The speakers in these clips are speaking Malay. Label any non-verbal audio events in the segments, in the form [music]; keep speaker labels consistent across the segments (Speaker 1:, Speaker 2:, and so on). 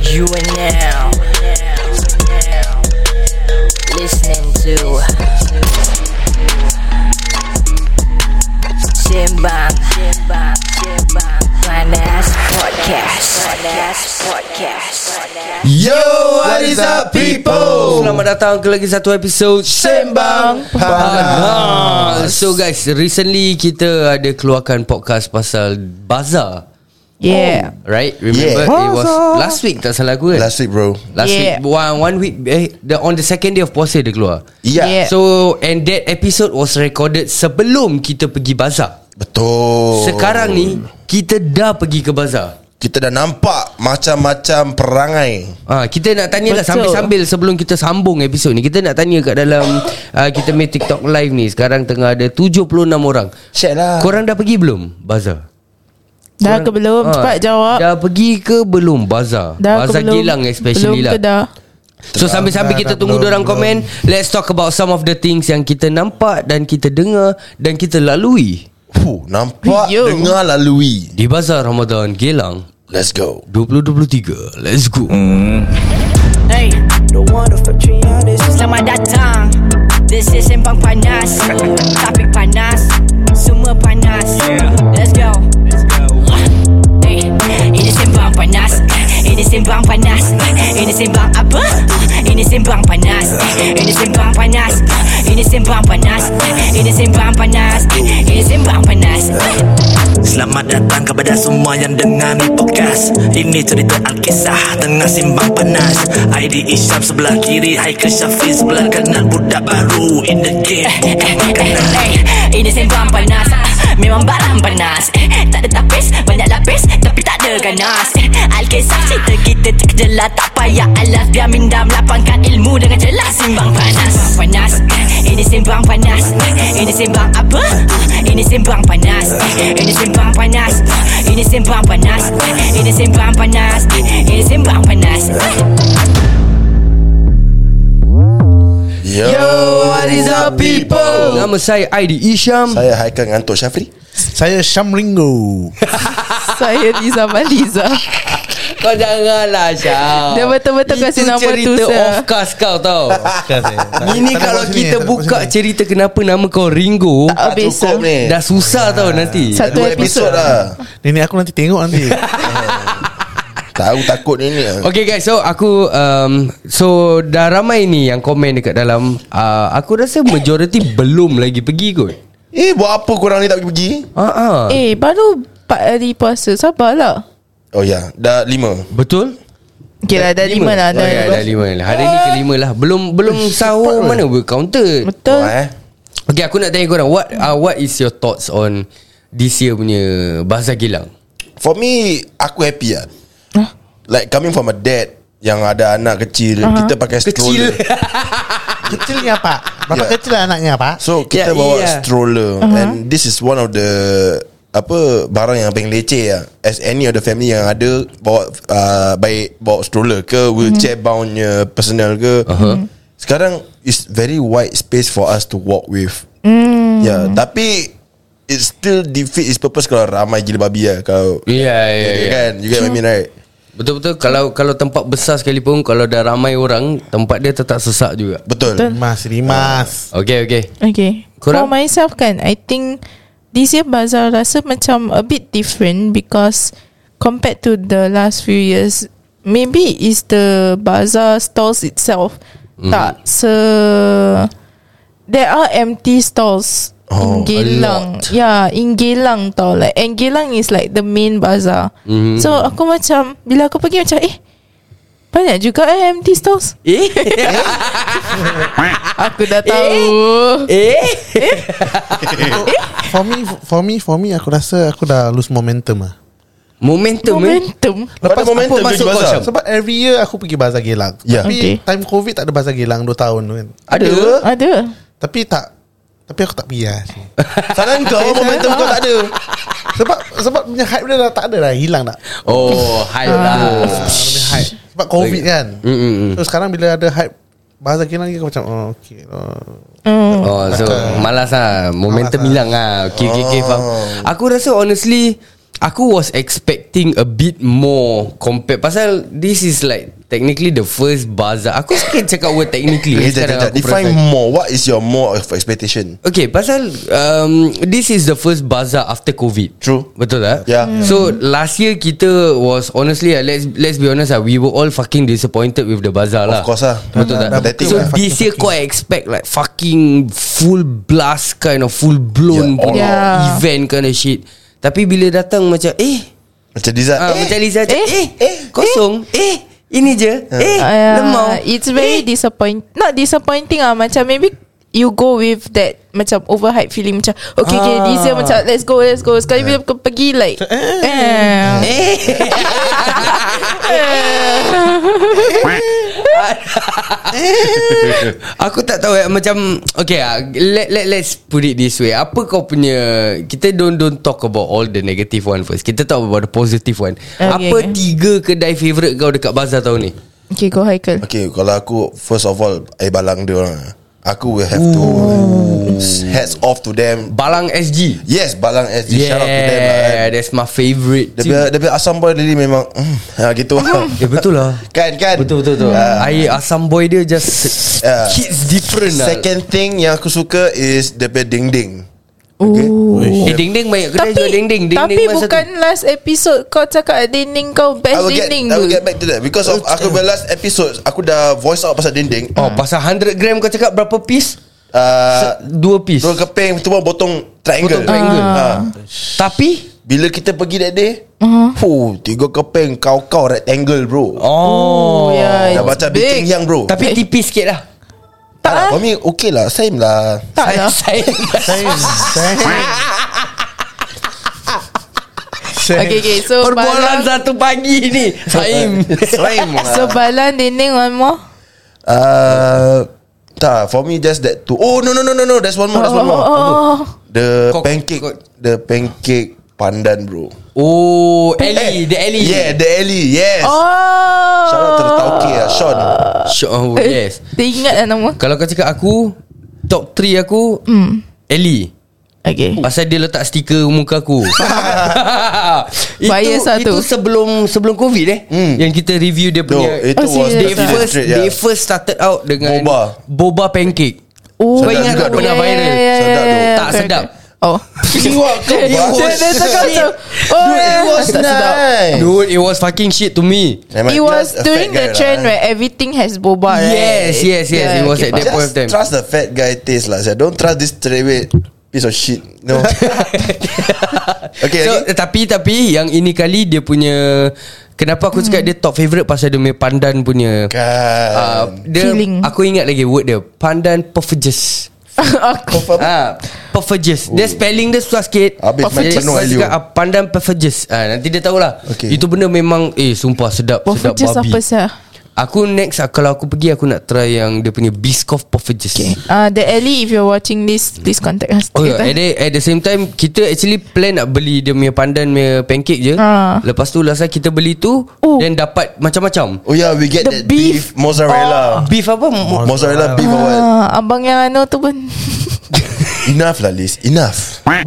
Speaker 1: You are now listening to Simbang Finance Podcast. Finance Podcast.
Speaker 2: Yo, what is up people?
Speaker 3: Selamat datang ke lagi satu episod Sembang Panas So guys, recently kita ada keluarkan podcast pasal Bazaar
Speaker 4: Yeah.
Speaker 3: Right? Remember
Speaker 2: Yeah.
Speaker 3: it was last week tak salah aku kan?
Speaker 2: Last week bro
Speaker 3: Last
Speaker 4: Yeah.
Speaker 3: week one, one week eh, the, On the second day of puasa dia keluar
Speaker 2: Ya yeah.
Speaker 4: Yeah.
Speaker 3: So and that episode was recorded sebelum kita pergi bazar
Speaker 2: Betul
Speaker 3: Sekarang ni kita dah pergi ke bazar
Speaker 2: Kita dah nampak macam-macam perangai
Speaker 3: Ha, kita nak tanya lah
Speaker 4: Betul.
Speaker 3: sambil-sambil sebelum kita sambung episod ni Kita nak tanya kat dalam uh, kita punya TikTok live ni Sekarang tengah ada 76 orang
Speaker 2: Share
Speaker 4: Ah.
Speaker 2: lah
Speaker 3: Korang dah pergi belum bazar?
Speaker 4: Dah ke belum?
Speaker 3: Ha,
Speaker 4: Cepat jawab.
Speaker 3: Dah pergi ke belum bazar?
Speaker 4: Dah ke
Speaker 3: bazar
Speaker 4: belum?
Speaker 3: Gilang especially
Speaker 4: belum
Speaker 3: lah
Speaker 4: Ke dah?
Speaker 3: So sambil-sambil kita tunggu
Speaker 2: Belum,
Speaker 3: orang
Speaker 2: belum.
Speaker 3: komen Let's talk about some of the things yang kita nampak Dan kita dengar Dan kita lalui
Speaker 2: Fuh, Nampak
Speaker 4: Yo.
Speaker 2: Dengar lalui
Speaker 3: Di Bazar Ramadan Gelang
Speaker 2: Let's go
Speaker 3: 2023 Let's go
Speaker 1: Hey, selamat datang. This is Sembang Panas. Topik panas, semua panas. Let's go. Hey, ini Sembang Panas. Ini Sembang Panas. Ini Sembang apa? Ini Sembang Panas. Ini Sembang Panas. Ini Sembang Panas. Ini Sembang Panas. Ini Sembang Panas.
Speaker 5: Selamat datang kepada semua yang dengar ni podcast Ini cerita Alkisah tengah simbang panas ID Isyam sebelah kiri Haikal Syafiq sebelah kanan Budak baru in the game bukan makanan
Speaker 1: Eh, Ini sembang panas Ah, Memang barang panas Eh, Tak ada tapis Banyak lapis Tapi tak ada ganas Eh, Alkisah cerita kita terkejelah Tak payah alas Biar minda melapangkan ilmu Dengan jelas Simbang panas Simbang panas Eh, Ini sembang panas Eh, Ini sembang apa? Ah, Ini sembang panas Eh, Ini sembang panas Ah, Ini sembang panas Eh, Ini sembang panas Eh, Ini sembang panas Eh.
Speaker 2: Yo,
Speaker 3: Nama saya Aidi Isham
Speaker 2: Saya Haikal dengan Anto Syafri
Speaker 6: Saya Syam Ringo
Speaker 4: [laughs] Saya Riza Maliza.
Speaker 3: Ah. Kau janganlah Syam
Speaker 4: Dia betul-betul kasi
Speaker 3: Itu
Speaker 4: nama tu,
Speaker 3: cerita
Speaker 4: sir.
Speaker 3: off cast kau tau Ini kalau kita buka cerita kenapa nama kau Ringo
Speaker 4: Tak habis.
Speaker 2: cukup
Speaker 4: sir.
Speaker 2: ni
Speaker 3: Dah susah tau nanti
Speaker 4: Sat-
Speaker 2: Dua
Speaker 4: Satu episod.
Speaker 2: episod lah
Speaker 6: [laughs] Nenek aku nanti tengok
Speaker 2: [laughs]
Speaker 6: nanti
Speaker 2: Tahu takut ni ni
Speaker 3: Okay guys so aku um, So dah ramai ni yang komen dekat dalam uh, Aku rasa majority
Speaker 4: Eh.
Speaker 3: belum lagi pergi kot
Speaker 2: Eh buat apa korang ni tak pergi
Speaker 3: Ah, ah.
Speaker 4: Eh, baru 4 hari puasa. Sabarlah.
Speaker 2: Oh ya Dah lima
Speaker 3: Betul?
Speaker 4: Okay lah, dah 5 lah.
Speaker 3: Oh,
Speaker 4: Dah
Speaker 3: ya, dah lima lah Hari ni kelima lah Belum belum sahur mana boleh counted
Speaker 4: Betul.
Speaker 2: Wah, eh.
Speaker 3: Okay aku nak tanya korang What uh, what is your thoughts on This year punya Bahasa Gilang
Speaker 2: For me Aku happy lah Like coming from a dad Yang ada anak kecil Kita pakai
Speaker 3: [laughs]
Speaker 2: stroller
Speaker 6: Kecilnya pak Bapak
Speaker 2: Ya.
Speaker 6: kecil lah anaknya pak
Speaker 2: So kita
Speaker 3: Ya,
Speaker 2: yeah, bawa
Speaker 3: iya.
Speaker 2: yeah. stroller uh-huh. And this is one of the Apa Barang yang paling leceh lah As any of the family yang ada Bawa uh, Baik bawa stroller ke Wheelchair boundnya Personal ke uh-huh. Sekarang It's very wide space For us to walk with mm. Yeah Tapi It still defeat its purpose Kalau ramai gila babi lah Kalau
Speaker 3: Ya ya
Speaker 2: yeah.
Speaker 3: ya
Speaker 2: Kan You get what I mean right
Speaker 3: Betul-betul Kalau kalau tempat besar sekali pun Kalau dah ramai orang Tempat dia tetap sesak juga
Speaker 2: Betul,
Speaker 6: Rimas Rimas
Speaker 3: Okay okay
Speaker 4: Okay.
Speaker 3: Korang?
Speaker 4: For myself kan, I think this year Bazaar rasa macam a bit different because compared to the last few years, maybe is the Bazaar stalls itself tak se... There are empty stalls
Speaker 2: Oh,
Speaker 4: in
Speaker 2: a
Speaker 4: Geylang.
Speaker 3: lot.
Speaker 4: Yeah, in Geylang tau. Like, and Geylang is like the main bazaar.
Speaker 3: Mhm.
Speaker 4: So, aku macam, bila aku pergi macam, eh, banyak juga eh empty stalls.
Speaker 3: [laughs] Eh
Speaker 4: Aku dah tahu.
Speaker 3: Eh
Speaker 6: Ah. For me For me For me aku rasa Aku dah lose momentum lah
Speaker 3: Momentum, eh
Speaker 4: Momentum.
Speaker 2: Lepas apa momentum
Speaker 3: masuk
Speaker 2: pergi
Speaker 3: kau,
Speaker 2: bazar?
Speaker 3: Syam?
Speaker 6: Sebab every year Aku pergi Bazar Gelang
Speaker 2: Ya.
Speaker 6: Tapi
Speaker 4: Okay.
Speaker 6: time covid Tak ada Bazar Gelang 2 tahun kan
Speaker 3: Ada
Speaker 4: Ada.
Speaker 6: Tapi tak Tapi aku tak pergi lah
Speaker 2: Salah kau Momentum
Speaker 3: Ah.
Speaker 2: kau tak ada
Speaker 6: Sebab Sebab punya hype dia dah tak ada dah Hilang dah
Speaker 3: Oh Hai
Speaker 6: Ah,
Speaker 3: lah
Speaker 6: punya hype. Sebab covid kan
Speaker 3: Mm, mm, mm.
Speaker 6: So sekarang bila ada hype Bazar Gelang lagi Aku macam oh, Okay oh.
Speaker 4: Hmm.
Speaker 3: Oh so Malas lah Momentum
Speaker 6: Malas lah.
Speaker 2: Oh.
Speaker 3: hilang lah Okay okay okay faham Aku rasa honestly Aku was expecting a bit more compared Pasal this is like Technically the first bazar Aku sikit cakap word technically eh,
Speaker 2: Kejap,
Speaker 3: sekarang
Speaker 2: kejap.
Speaker 3: aku
Speaker 2: Define
Speaker 3: perasan.
Speaker 2: more What is your more of expectation
Speaker 3: Okay pasal um, This is the first bazar after covid
Speaker 2: True.
Speaker 3: Betul tak?
Speaker 2: Yeah. Hmm.
Speaker 3: So last year kita was Honestly ah, let's let's be honest ah, We were all fucking disappointed with the bazar lah
Speaker 2: Of course lah
Speaker 3: Betul tak?
Speaker 2: Pathetic
Speaker 3: So
Speaker 2: lah
Speaker 3: this year kau expect like fucking full blast kind of full blown
Speaker 2: Yeah, all
Speaker 3: punya
Speaker 4: out. Yeah.
Speaker 3: event kind of shit. Tapi bila datang macam eh,
Speaker 2: Macam Dizat
Speaker 3: ah,
Speaker 2: eh,
Speaker 3: macam Liza macam eh,
Speaker 4: eh, uh,
Speaker 3: eh, kosong, eh, ini je, eh,
Speaker 4: Yeah,
Speaker 3: lemau.
Speaker 4: It's very
Speaker 3: eh.
Speaker 4: disappointing Not disappointing ah Macam maybe You go with that Macam overhyped feeling Macam Okay okay
Speaker 3: Ah.
Speaker 4: This year macam Let's go let's go Sekali bila kau pergi like eh.
Speaker 3: Aku tak tahu eh, macam okay ah, let, let let's put it this way. Apa kau punya kita don't don't talk about all the negative one first. Kita talk about the positive one.
Speaker 4: Okay,
Speaker 3: Apa
Speaker 4: okay.
Speaker 3: tiga kedai favorite kau dekat bazar tahun ni?
Speaker 4: Okay go Haikal
Speaker 2: Okay kalau aku First of all Air balang dia orang Aku will have to Hats off to them
Speaker 3: Balang SG.
Speaker 2: Yes balang as yeah.
Speaker 3: Yeah,
Speaker 2: Shout out to them lah kan.
Speaker 3: that's my favorite.
Speaker 2: Dia
Speaker 3: too.
Speaker 2: punya, dia punya asam boy Lily memang mm, ha,
Speaker 3: [laughs]
Speaker 2: Gitu lah
Speaker 3: Eh betul lah.
Speaker 2: Kan kan
Speaker 3: Betul betul betul.
Speaker 2: Ah,
Speaker 3: Uh, Air asam boy dia just uh,
Speaker 2: Ah.
Speaker 3: hits different lah. Second.
Speaker 2: Second thing yang aku suka Is dia punya ding ding
Speaker 3: Eh ding ding banyak kedai
Speaker 4: Tapi
Speaker 3: jual ding ding. Ding
Speaker 4: Tapi
Speaker 3: ding masa
Speaker 4: bukan last episode Kau cakap dinding
Speaker 2: I
Speaker 4: kau Best
Speaker 2: will get
Speaker 4: dinding
Speaker 2: I will get back to that Because of Aku punya last episode Aku dah voice out pasal dinding
Speaker 3: tu. Oh pasal 100 gram kau cakap berapa piece?
Speaker 2: uh,
Speaker 3: Dua piece.
Speaker 2: Dua keping Semua botong triangle,
Speaker 3: Potong triangle.
Speaker 2: Ah.
Speaker 3: Tapi
Speaker 2: Bila kita pergi that day
Speaker 4: Uh-huh.
Speaker 2: huh, Tiga keping Kau-kau rectangle bro
Speaker 3: oh,
Speaker 4: yeah,
Speaker 2: Dah
Speaker 4: it's
Speaker 2: macam
Speaker 4: big.
Speaker 2: bicing yang bro
Speaker 3: tapi tipis sikit lah.
Speaker 2: tak
Speaker 4: eh?
Speaker 2: lah
Speaker 4: ah.
Speaker 2: For me okay lah Same lah
Speaker 4: Tak lah
Speaker 3: [laughs] Saya
Speaker 6: Saya Saya
Speaker 4: Okay okay so
Speaker 3: [laughs] perbualan
Speaker 4: Balang
Speaker 3: satu pagi ni. Saim.
Speaker 2: [laughs] Same lah
Speaker 4: So Balang dinding one more
Speaker 2: uh, Tak for me just that two Oh no no no no no There's one more There's one more
Speaker 4: Oh
Speaker 2: The
Speaker 3: Kok-
Speaker 2: pancake
Speaker 3: kok-
Speaker 2: The pancake Pandan bro
Speaker 3: [laughs] Oh, Ellie, the Ellie.
Speaker 2: Yeah the Ellie eh. Yes
Speaker 4: Oh
Speaker 2: Shout out to the
Speaker 4: [laughs]
Speaker 2: Tauke lah Sean
Speaker 3: Sure, oh,
Speaker 4: Eh,
Speaker 3: yes.
Speaker 4: Dia ingat lah nama
Speaker 3: Kalau kau cakap aku Top 3 aku
Speaker 4: Hmm
Speaker 3: Ellie
Speaker 4: Okay
Speaker 3: Pasal dia letak stiker muka aku itu,
Speaker 4: Bias lah
Speaker 3: itu
Speaker 4: tu.
Speaker 3: sebelum sebelum covid eh
Speaker 2: Hmm.
Speaker 3: Yang kita review dia
Speaker 2: No
Speaker 3: punya
Speaker 2: Itu
Speaker 4: Oh,
Speaker 2: was
Speaker 4: serious
Speaker 2: the
Speaker 3: They
Speaker 4: ah.
Speaker 2: feeling
Speaker 3: first
Speaker 2: straight,
Speaker 3: They
Speaker 2: yeah.
Speaker 3: first [laughs] started out dengan
Speaker 2: Boba.
Speaker 3: Boba pancake
Speaker 4: Oh,
Speaker 2: Sedap
Speaker 3: ingat
Speaker 2: juga
Speaker 3: tak
Speaker 2: tu.
Speaker 3: pernah viral?
Speaker 4: ya,
Speaker 2: Sedap tu.
Speaker 4: yeah,
Speaker 3: Tak
Speaker 4: correct,
Speaker 3: sedap.
Speaker 4: correct.
Speaker 3: [laughs]
Speaker 4: Oh
Speaker 2: Siwak kau
Speaker 4: Dia
Speaker 2: bagus
Speaker 4: dia cakap macam Oh
Speaker 2: Dude, it
Speaker 4: eh,
Speaker 2: was
Speaker 4: tak sedap.
Speaker 2: nice
Speaker 3: Dude it was fucking shit to me
Speaker 2: Never mind,
Speaker 4: It was
Speaker 2: just a fat
Speaker 4: during
Speaker 2: guy
Speaker 4: the
Speaker 2: lah,
Speaker 4: trend
Speaker 2: eh.
Speaker 4: where everything has boba right?
Speaker 3: Yes, yes, yes, it was
Speaker 4: okay,
Speaker 3: at that
Speaker 4: fine.
Speaker 3: point of time.
Speaker 2: Just trust the fat guy taste lah. Saya don't trust this straightweight piece of shit. No. okay,
Speaker 3: so,
Speaker 2: so,
Speaker 3: Tapi tapi Yang ini kali dia punya Kenapa aku
Speaker 4: Hmm.
Speaker 3: cakap dia top favourite Pasal dia punya pandan punya
Speaker 2: kan.
Speaker 3: uh, dia,
Speaker 4: Feeling.
Speaker 3: Aku ingat lagi word dia Pandan perfidious
Speaker 4: [laughs] Aku
Speaker 2: Confirm.
Speaker 3: Ah, perfidious. Dia spelling dia susah sikit.
Speaker 2: Oh. Habis main
Speaker 3: Jadi,
Speaker 2: penuh
Speaker 3: kau
Speaker 2: value.
Speaker 3: cakap, ah, Pandan perfidious. Ah, nanti dia tahulah.
Speaker 2: Okay.
Speaker 3: Itu benda memang eh sumpah sedap
Speaker 4: Pofudges
Speaker 3: sedap babi.
Speaker 4: apa sah
Speaker 3: Aku next ah, kalau aku pergi aku nak try yang dia punya Biscoff perfidious. Okay.
Speaker 4: Uh, the Ellie if you're watching this Please contact us
Speaker 3: Oh, at, the, at the same time Kita actually plan nak beli Dia punya pandan punya pancake je
Speaker 4: Ah.
Speaker 3: Lepas tu last time kita beli tu
Speaker 4: Oh.
Speaker 3: Then dapat macam-macam
Speaker 2: Oh yeah, we get
Speaker 4: The
Speaker 2: that beef,
Speaker 4: beef
Speaker 2: mozzarella.
Speaker 3: Beef apa? Mo-
Speaker 2: Mozzarella beef or what?
Speaker 4: Ah, Abang yang ano tu pun
Speaker 2: Enough lah, Liz. Enough.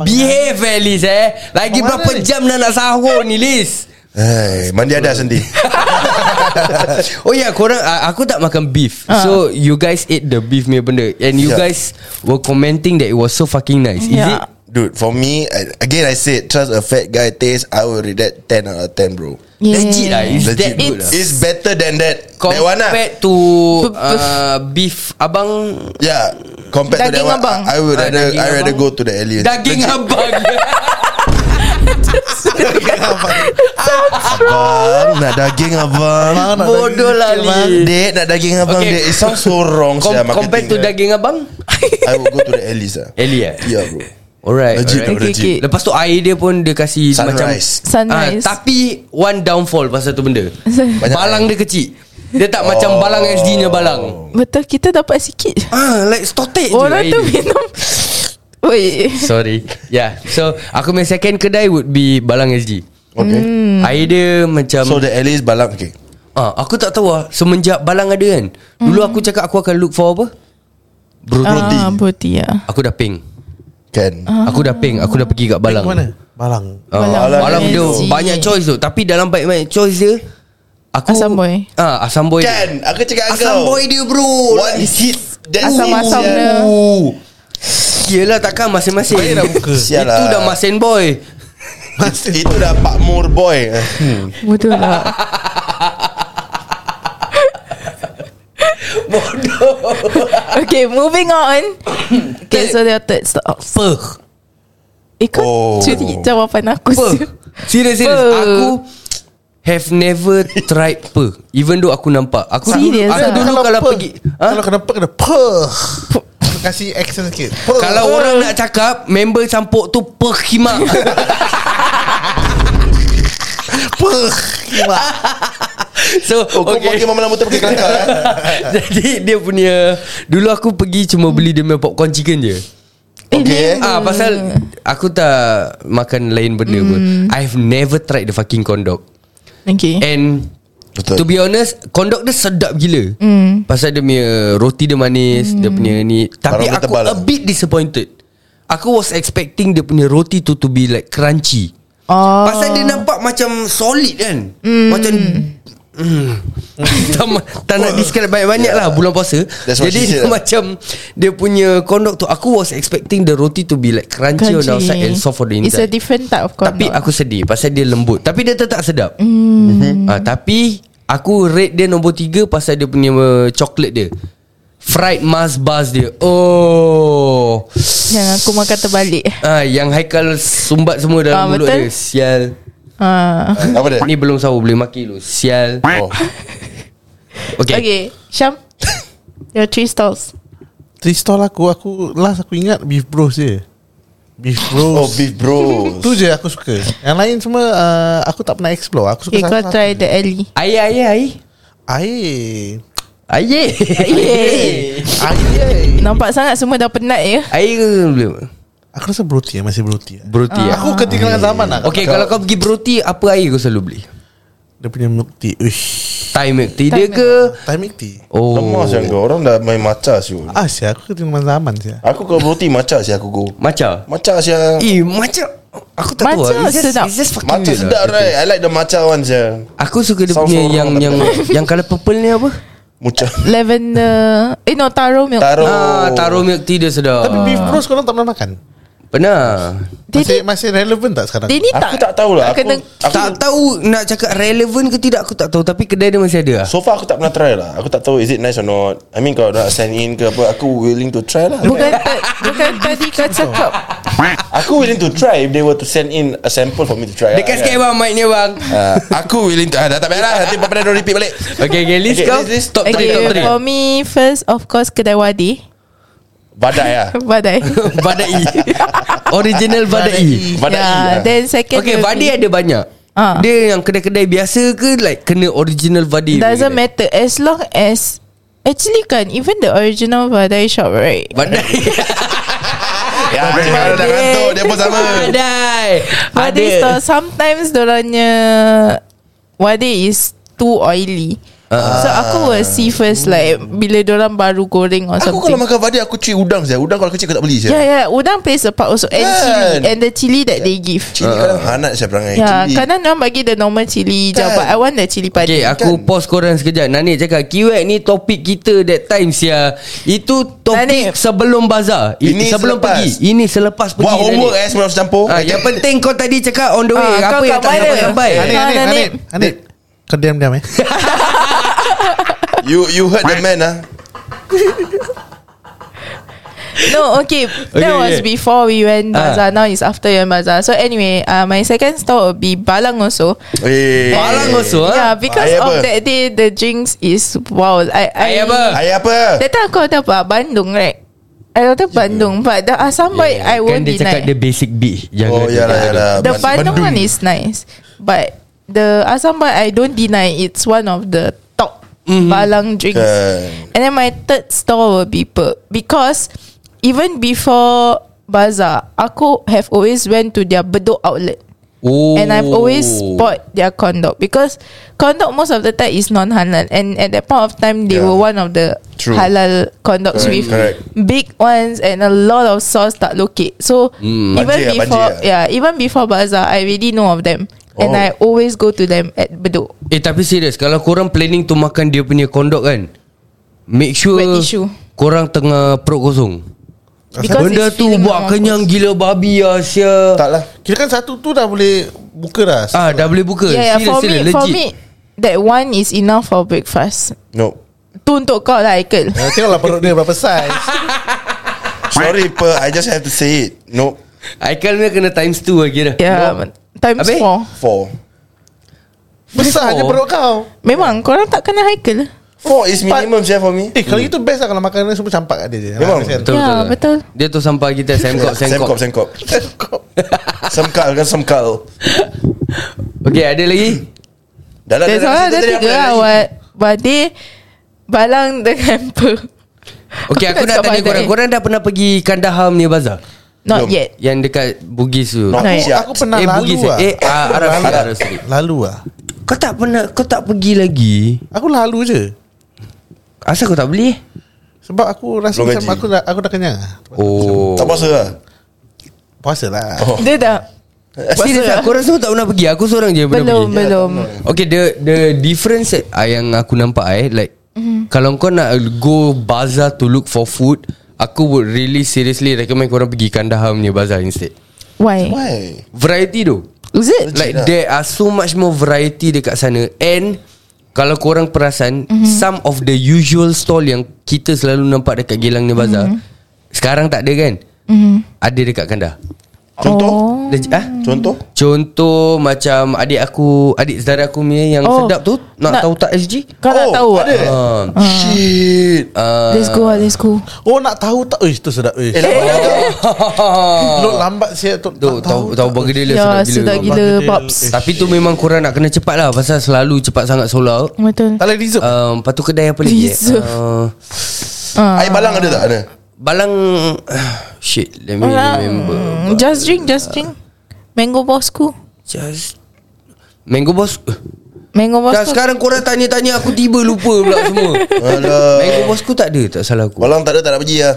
Speaker 3: Behave eh Liz eh Lagi berapa jam dah nak sahur ni Liz
Speaker 2: Hey, mandi ada sendiri.
Speaker 3: Oh ya yeah, korang uh, Aku tak makan beef uh. So you guys ate the beef punya benda And you yeah.
Speaker 2: Yeah.
Speaker 3: guys Were commenting that it was so fucking nice Is
Speaker 4: Yeah.
Speaker 3: it?
Speaker 2: Dude, for me, I, again I said trust a fat guy taste. I will rate that ten out of ten, bro.
Speaker 4: Yeah.
Speaker 3: Legit lah Is
Speaker 2: Legit.
Speaker 3: that good lah
Speaker 2: It's better than that. that one lah.
Speaker 3: Compared to uh, Beef abang
Speaker 2: Yeah, Ya, compared to that
Speaker 4: Daging
Speaker 2: one,
Speaker 4: abang.
Speaker 2: I, I would
Speaker 3: Ah,
Speaker 2: rather
Speaker 3: daging
Speaker 2: I rather
Speaker 3: abang.
Speaker 2: go to the alien.
Speaker 3: Daging abang
Speaker 2: Abang Nak daging abang
Speaker 3: Bodoh lah Liz
Speaker 2: Dek nak daging abang
Speaker 3: Okay.
Speaker 2: okay. Dek It sounds so wrong
Speaker 3: Com-
Speaker 2: sia,
Speaker 3: Compared to
Speaker 2: lah marketing dia.
Speaker 3: daging abang
Speaker 2: I would go to the Alice lah
Speaker 3: Ellie eh
Speaker 2: Yeah bro
Speaker 3: Alright,
Speaker 2: Legit
Speaker 3: alright.
Speaker 2: bro
Speaker 4: Okay, okay.
Speaker 2: legit
Speaker 3: Lepas tu air dia pun Dia kasih
Speaker 2: Sunrise
Speaker 3: macam Ah,
Speaker 4: Sunrise
Speaker 3: Tapi One downfall Pasal tu
Speaker 4: [laughs]
Speaker 3: benda
Speaker 2: Banyak
Speaker 3: Balang
Speaker 2: air.
Speaker 3: dia kecil Dia tak
Speaker 2: Oh.
Speaker 3: macam Balang SD nya balang
Speaker 4: Betul kita dapat sikit
Speaker 3: Ah, like stotek
Speaker 4: Orang
Speaker 3: air
Speaker 4: tu
Speaker 3: dia.
Speaker 4: minum Oi.
Speaker 3: Sorry Yeah So Aku punya second kedai Would be Balang SG
Speaker 2: eh. Okay
Speaker 3: hmm. Air dia macam
Speaker 2: So the Alice balang Okay
Speaker 3: ah, Aku tak tahu lah Semenjak Balang ada kan
Speaker 4: Hmm.
Speaker 3: Dulu aku cakap Aku akan look for apa Broti
Speaker 4: Ah, Boti ya.
Speaker 3: Aku dah ping
Speaker 2: Kan
Speaker 4: Ah.
Speaker 3: Aku dah ping Aku dah pergi kat Balang
Speaker 6: Mana? Balang
Speaker 3: Ah,
Speaker 2: Balang.
Speaker 3: Balang, Balang dia
Speaker 4: Fancy.
Speaker 3: Banyak choice tu Tapi dalam banyak choice dia Aku
Speaker 4: Asam boy.
Speaker 3: Ah, Asam boy dia.
Speaker 2: Kan Aku cakap
Speaker 3: Asam
Speaker 2: kau
Speaker 3: boy dia bro
Speaker 2: What is it That
Speaker 4: Asam-asam dia.
Speaker 3: Yelah takkan masing-masing
Speaker 6: Baik dah muka.
Speaker 2: Sial
Speaker 3: [laughs] Itu
Speaker 2: lah.
Speaker 3: dah masin boy
Speaker 2: It- Itu dah Pak Mur boy
Speaker 4: Betul
Speaker 3: [laughs]
Speaker 4: lah Bodoh Okay moving
Speaker 3: [coughs]
Speaker 4: on Okay so the third stop
Speaker 3: Apa
Speaker 4: Eh kau
Speaker 2: Oh.
Speaker 4: curi jawapan aku
Speaker 3: Apa [laughs]
Speaker 4: sih
Speaker 3: Serius serius
Speaker 4: Apa?
Speaker 3: Aku Have never tried per Even though aku nampak Aku
Speaker 4: Serious
Speaker 3: aku
Speaker 4: ah?
Speaker 3: dulu
Speaker 6: Kalau
Speaker 3: kalau
Speaker 6: apa?
Speaker 3: pergi ha?
Speaker 6: Kalau kena pek Kena pek Kena Kasih action sikit Pek.
Speaker 3: Kalau orang nak cakap Member campur tu
Speaker 2: [laughs]
Speaker 3: Perkhima Perkhima So
Speaker 2: Oh kau
Speaker 3: okay.
Speaker 2: pergi Mama Lama tu pergi Kelantan eh?
Speaker 3: [laughs] Jadi dia punya Dulu aku pergi Cuma beli dia punya popcorn chicken je
Speaker 4: Eh,
Speaker 2: Okay.
Speaker 3: Ah pasal Aku tak Makan lain benda pun
Speaker 4: Hmm.
Speaker 3: I've never tried The fucking condog
Speaker 4: Okay
Speaker 3: And
Speaker 2: Betul.
Speaker 3: To be honest Kondok dia sedap gila
Speaker 4: Hmm.
Speaker 3: mm. Pasal dia punya Roti dia manis mm. Dia punya ni Tapi
Speaker 2: Aroma
Speaker 3: aku
Speaker 2: tebal lah.
Speaker 3: a bit disappointed Aku was expecting Dia punya roti tu To be like crunchy [laughs]
Speaker 4: Oh.
Speaker 3: Pasal dia nampak macam Solid kan mm. Macam mm. tak, ma- tak nak describe banyak-banyak lah Bulan
Speaker 2: Oh.
Speaker 3: puasa
Speaker 2: That's what
Speaker 3: Jadi
Speaker 2: she said
Speaker 3: dia
Speaker 2: lah.
Speaker 3: [laughs] macam Dia punya kondok tu Aku was expecting The roti to be like Crunchy, on the outside And soft on the inside
Speaker 4: It's a different type of condom
Speaker 3: tapi aku sedih Pasal dia lembut Tapi dia tetap sedap
Speaker 4: Hmm.
Speaker 3: mm. ha, Tapi Aku rate dia nombor 3 Pasal dia punya uh, Coklat dia Fried Mars bars dia Oh
Speaker 4: Yang aku makan terbalik
Speaker 3: ha, Yang Haikal Sumbat semua dalam
Speaker 4: Ah,
Speaker 3: mulut
Speaker 4: betul.
Speaker 3: dia Sial
Speaker 4: ah.
Speaker 2: Apa dia
Speaker 3: Ni belum sahur Boleh maki lu Sial
Speaker 2: Oh.
Speaker 3: [laughs] Okay, okay.
Speaker 4: Okay Syam
Speaker 3: [laughs]
Speaker 4: Your three stalls
Speaker 6: Three stall aku Aku Last aku ingat Beef Bros je Beef
Speaker 2: Oh
Speaker 6: Bros
Speaker 2: beef
Speaker 3: [laughs]
Speaker 2: bro
Speaker 6: Tu je aku suka Yang lain semua uh, Aku tak pernah explore Aku suka
Speaker 4: Okay Eh, kau
Speaker 6: satu-satu
Speaker 4: try
Speaker 6: je.
Speaker 4: the alley
Speaker 3: Air air air
Speaker 6: Air
Speaker 3: Air [laughs] Air
Speaker 6: Air
Speaker 4: Nampak sangat semua dah penat ya
Speaker 3: Air ke belum
Speaker 6: Aku rasa broti ya, Masih broti
Speaker 3: Broti ah.
Speaker 6: Aku ketinggalan zaman lah
Speaker 3: Okay kalau kau pergi broti Apa air kau selalu beli
Speaker 6: Dia punya milk tea Uish
Speaker 3: Thai milk tea dia
Speaker 4: Thai milk.
Speaker 3: ke
Speaker 6: Thai milk tea
Speaker 3: Oh
Speaker 2: Lemah siang kau Orang dah main macah siul
Speaker 6: Ah siya Aku ketinggalan zaman siya
Speaker 2: Aku kalau roti macah siang aku go
Speaker 3: Macam
Speaker 2: Macah siang
Speaker 3: Eh macam Aku tak tahu
Speaker 4: Macam
Speaker 3: lah. It's just-
Speaker 4: sedap.
Speaker 3: It's just fucking
Speaker 2: Macah
Speaker 3: weird
Speaker 2: sedap
Speaker 3: lah.
Speaker 2: right I like the macah one siang
Speaker 3: Aku suka dia
Speaker 2: Sound
Speaker 3: punya
Speaker 2: so
Speaker 3: yang
Speaker 2: wrong.
Speaker 3: yang yang color purple ni apa? [laughs]
Speaker 2: Mucah
Speaker 4: Lavender Eh no taro milk
Speaker 2: Taro
Speaker 3: Ah, taro milk tea dia sedap.
Speaker 6: Tapi beef bros korang tak pernah makan
Speaker 3: Pernah.
Speaker 4: Dia
Speaker 6: Masih,
Speaker 4: ni
Speaker 6: masih relevan tak sekarang
Speaker 4: Dia ni
Speaker 2: Aku tak
Speaker 3: lah.
Speaker 4: tak
Speaker 2: tahulah Aku,
Speaker 4: kena
Speaker 2: aku
Speaker 3: tak tahu nak cakap relevan ke tidak aku tak tahu tapi kedai dia masih ada lah.
Speaker 2: So far aku tak pernah try lah Aku tak tahu is it nice or not I mean kalau nak sign in ke apa Aku willing to try lah
Speaker 3: [laughs]
Speaker 4: Bukan ta- Bukan tadi kau cakap
Speaker 2: [laughs] Aku willing to try If they were to send in A sample for me to try lah, kan?
Speaker 3: Dekat sikit bang mic ni bang.
Speaker 2: Ya, Ah, Aku willing to ah, Dah tak payah lah Nanti pada dia repeat balik
Speaker 3: Okay, okay, list
Speaker 2: Okay,
Speaker 3: kau.
Speaker 2: list, list.
Speaker 3: Top 3,
Speaker 4: Okay
Speaker 3: top
Speaker 4: for
Speaker 3: [laughs]
Speaker 4: me First of course Kedai Wadi
Speaker 2: Badai
Speaker 3: [laughs]
Speaker 2: lah
Speaker 4: Badai
Speaker 3: 3. Badai. E. Original
Speaker 4: E.
Speaker 3: Badai.
Speaker 2: [laughs] Badai
Speaker 4: yeah,
Speaker 3: Ya,
Speaker 2: lah.
Speaker 4: Then second
Speaker 3: Okay,
Speaker 4: will
Speaker 3: Vadi
Speaker 4: be-
Speaker 3: ada banyak.
Speaker 4: Ah.
Speaker 3: Dia yang kedai-kedai biasa ke like kena original E Vadi?
Speaker 4: Doesn't matter As long as Actually kan Even the original Vadai shop right
Speaker 2: [laughs]
Speaker 3: Badai.
Speaker 2: Ya Kalau dah ngantuk Dia pun sama
Speaker 3: Badai.
Speaker 4: Wadi
Speaker 3: Ada.
Speaker 4: store Sometimes Dorangnya Wadi is Too oily
Speaker 2: Ah.
Speaker 4: So aku will see first Like Bila dorang baru goreng
Speaker 2: Aku
Speaker 4: Or something
Speaker 2: kalau makan badai Aku cuci udang saja Udang kalau kecil aku tak beli
Speaker 4: Yeah,
Speaker 2: saja
Speaker 4: yeah. Udang plays a part also, and
Speaker 2: Kan?
Speaker 4: chili, and the chili that they give.
Speaker 2: Cili kadang hanat saya ah, perangai
Speaker 4: yeah,
Speaker 2: Cili.
Speaker 4: Ya, kadang orang bagi the normal chili je,
Speaker 2: Kan?
Speaker 4: but I want the chili padi.
Speaker 3: Okay aku pause korang sekejap Nanik cakap Kiwek ni topik kita that time sia Itu topik
Speaker 4: Nanik.
Speaker 3: sebelum bazar I-
Speaker 2: Ini
Speaker 3: Sebelum
Speaker 2: selepas.
Speaker 3: pergi Ini selepas pergi
Speaker 2: Buat homework
Speaker 3: Nanik.
Speaker 2: eh Sebelum campur
Speaker 3: Ah, Yang penting kau tadi cakap on the way
Speaker 4: Ah,
Speaker 3: Apa
Speaker 4: kau
Speaker 3: yang
Speaker 4: kat
Speaker 3: tak
Speaker 4: mana?
Speaker 3: sampai-sampai
Speaker 4: Nanik,
Speaker 6: Anip
Speaker 4: Ah,
Speaker 6: Anip
Speaker 4: Nanip.
Speaker 6: Anip Anip Kau diam-diam [laughs] eh
Speaker 2: You you heard the man ah.
Speaker 4: No, okay, that
Speaker 3: Okay,
Speaker 4: was
Speaker 3: okay.
Speaker 4: before we went
Speaker 3: Ah.
Speaker 4: bazaar. Now it's after we went bazaar. So anyway, uh, my second store will be Balang also.
Speaker 2: Eh.
Speaker 3: Balang also ah.
Speaker 4: Yeah, because
Speaker 2: Ayah
Speaker 4: of
Speaker 2: apa?
Speaker 4: that day, the drinks is wow. I I
Speaker 3: Ayah apa?
Speaker 2: Ayah apa?
Speaker 4: That time aku order apa? Bandung right? I order Bandung, but the asam yeah,
Speaker 3: Kan
Speaker 4: I won't
Speaker 3: dia cakap
Speaker 4: deny.
Speaker 3: dia basic B
Speaker 2: Oh yalah yalah.
Speaker 4: The
Speaker 2: Ban-
Speaker 4: Bandung
Speaker 2: Bandung.
Speaker 4: one is nice, but the asam but I don't deny it's one of the top Balang drinks.
Speaker 2: Kan.
Speaker 4: And then my third store will be Perk because even before Bazaar, aku have always went to their Bedok outlet.
Speaker 3: Oh.
Speaker 4: And I've always bought their conduct because conduct most of the time is non halal. And at that point of time, they
Speaker 2: Yeah.
Speaker 4: were one of the
Speaker 2: True.
Speaker 4: halal conducts
Speaker 2: Correct,
Speaker 4: with
Speaker 2: correct.
Speaker 4: big ones and a lot of sauce tak lokek. So even
Speaker 2: Banjir ah,
Speaker 4: before,
Speaker 2: banjir
Speaker 4: yeah, even before bazaar, I already know of them.
Speaker 2: Oh.
Speaker 4: And I always go to them at Bedok.
Speaker 3: Eh tapi serius Kalau korang planning to makan Dia punya kondok kan Make sure
Speaker 4: Wet tissue.
Speaker 3: Korang tengah perut kosong
Speaker 4: Because
Speaker 3: Benda
Speaker 4: it's
Speaker 3: tu
Speaker 4: filling
Speaker 3: buat
Speaker 4: our
Speaker 3: kenyang gila babi lah Sia
Speaker 2: Tak lah
Speaker 6: Kira kan satu tu dah boleh Buka dah
Speaker 3: Ah dah boleh buka
Speaker 4: Yeah, yeah.
Speaker 3: Serious,
Speaker 4: Ya, For me,
Speaker 3: serious,
Speaker 4: for
Speaker 3: legit.
Speaker 4: me, that one is enough for breakfast.
Speaker 2: No
Speaker 4: Tu untuk kau lah, Aikal.
Speaker 6: Ah, Tengoklah perut dia berapa size
Speaker 2: Sorry per I just have to say it No
Speaker 3: Aikal ni kena times 2 lah kira
Speaker 4: Yeah, times
Speaker 3: Habis?
Speaker 4: four.
Speaker 2: Four
Speaker 6: Besar je
Speaker 3: Before.
Speaker 6: perut kau
Speaker 4: Memang korang tak kena Haikal.
Speaker 2: Four is minimum je for me
Speaker 6: Eh kalau gitu best lah Kalau makanan semua campak kat dia je
Speaker 2: Memang.
Speaker 6: Makan
Speaker 3: Betul,
Speaker 4: Ya, betul.
Speaker 3: Dia tu sampai [laughs] kita Semkop
Speaker 2: Semkop
Speaker 3: Semkop
Speaker 2: Semkop [laughs] Semkal kan semkal
Speaker 3: Okay ada
Speaker 4: [laughs]
Speaker 3: lagi
Speaker 2: Dah lah
Speaker 4: That's all ada
Speaker 2: Tadi apa
Speaker 4: tiga
Speaker 2: lagi?
Speaker 4: lah What Bade Balang [laughs] dan hamper
Speaker 3: Okay aku, nak
Speaker 4: tak
Speaker 3: tanya
Speaker 4: pandai.
Speaker 3: korang Korang dah pernah pergi Kandahar ni bazar
Speaker 2: Belum.
Speaker 4: Not yet
Speaker 3: Yang dekat Bugis tu
Speaker 2: Not
Speaker 4: Not
Speaker 2: yet.
Speaker 4: yet.
Speaker 6: kan? Aku pernah
Speaker 3: Eh,
Speaker 6: lalu
Speaker 3: Bugis,
Speaker 6: lah
Speaker 3: eh? Eh, ah, Arab Street,
Speaker 6: Lalu-
Speaker 3: Arab Street.
Speaker 6: Lalu lah
Speaker 3: Kau tak pernah Kau tak pergi lagi
Speaker 6: Aku lalu je
Speaker 3: Asal kau tak beli eh?
Speaker 6: Sebab aku rasa
Speaker 2: Belum
Speaker 6: macam
Speaker 2: gaji.
Speaker 6: aku dah, aku dah kenyang lah.
Speaker 3: Oh
Speaker 2: Tak puasa lah
Speaker 6: Puasa lah
Speaker 2: Oh.
Speaker 4: Dia dah
Speaker 3: Serius
Speaker 4: Puasa.
Speaker 3: lah Korang semua tak pernah pergi Aku seorang je pernah
Speaker 4: Belum
Speaker 3: pergi
Speaker 4: Belum
Speaker 3: Okay the the difference that, ah, Yang aku nampak eh Like mm. Kalau kau nak go Bazaar to look for food Aku would really seriously Recommend korang pergi Kandahar punya bazaar instead
Speaker 4: Why
Speaker 2: Why
Speaker 3: Variety tu
Speaker 4: Is it
Speaker 2: Legit
Speaker 3: Like
Speaker 2: lah.
Speaker 3: there are so much more variety dekat sana And Kalau korang perasan mm-hmm. Some of the usual stall Yang kita selalu nampak Dekat Geylang ni Bazaar mm-hmm. Sekarang tak ada kan mm-hmm. Ada dekat Kandahar
Speaker 2: Contoh
Speaker 3: Legit, ah?
Speaker 2: Contoh
Speaker 3: Contoh macam adik aku Adik saudara aku punya yang oh,
Speaker 4: Oh,
Speaker 3: sedap tu Nak, nak
Speaker 4: nak-
Speaker 3: tahu tak SG?
Speaker 4: Kau nak
Speaker 2: Oh,
Speaker 4: tahu
Speaker 2: ada.
Speaker 4: tak?
Speaker 3: Uh,
Speaker 4: Ah,
Speaker 2: Shit
Speaker 3: uh,
Speaker 4: Let's go lah Let's go
Speaker 6: Oh nak tahu tak Eh tu sedap Eh,
Speaker 2: Eh lama dah
Speaker 6: [laughs]
Speaker 2: kau
Speaker 6: Look lambat siap tu,
Speaker 3: tu, tahu, tahu burger dia sedap
Speaker 4: Ya
Speaker 3: gila,
Speaker 4: sedap gila Babs
Speaker 3: Tapi tu memang korang nak kena cepat lah Pasal selalu cepat sangat sold out
Speaker 4: Betul
Speaker 6: Tak lagi Rizuk
Speaker 3: um, Lepas tu kedai apa
Speaker 4: [laughs]
Speaker 3: lagi eh?
Speaker 4: Reserve.
Speaker 3: uh,
Speaker 2: Air balang ada tak ada
Speaker 3: Balang [sighs] Shit Let me remember
Speaker 4: Hmm, Just drink Just drink Mango bosku
Speaker 3: Just Mango Boss
Speaker 4: Mango
Speaker 3: Dah
Speaker 4: bosku
Speaker 3: sekarang korang tanya-tanya Aku tiba lupa pula
Speaker 4: [laughs]
Speaker 3: semua
Speaker 2: Alah
Speaker 3: [laughs] Mango Boss ku tak ada Tak salah aku
Speaker 2: Balang tak ada tak nak pergi
Speaker 3: [laughs]
Speaker 2: lah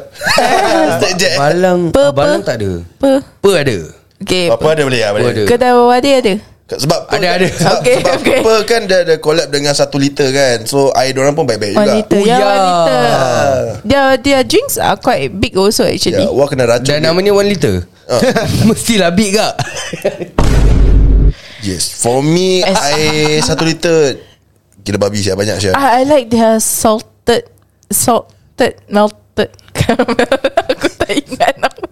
Speaker 2: Stay je
Speaker 3: Balang
Speaker 4: Pe-
Speaker 3: ah, Balang
Speaker 4: pe.
Speaker 3: tak ada
Speaker 4: Apa
Speaker 3: Apa ada
Speaker 4: Okay
Speaker 2: Apa ada boleh lah boleh.
Speaker 3: Apa ada?
Speaker 4: Kedai bawah dia ada
Speaker 2: Sebab Pearl
Speaker 3: Ada,
Speaker 2: kan-
Speaker 3: ada.
Speaker 2: Sebab,
Speaker 4: Okay,
Speaker 2: sebab
Speaker 4: okay.
Speaker 2: Pearl kan dia ada collab dengan satu liter kan So air diorang pun baik-baik
Speaker 4: One
Speaker 2: juga
Speaker 4: liter
Speaker 3: Oh,
Speaker 4: Yeah
Speaker 3: ya.
Speaker 4: one liter
Speaker 3: Ah.
Speaker 4: Their, their drinks are quite big also actually
Speaker 2: Ya, Wah kena racun
Speaker 3: Dan
Speaker 2: dia.
Speaker 3: nama ni 1 liter [laughs] Mestilah big kak
Speaker 2: Yes For me
Speaker 4: As-
Speaker 2: Air satu liter Gila babi siap banyak
Speaker 3: Ah.
Speaker 2: siap
Speaker 4: I, I like their salted salted melted caramel. [laughs] Aku tak ingat nama.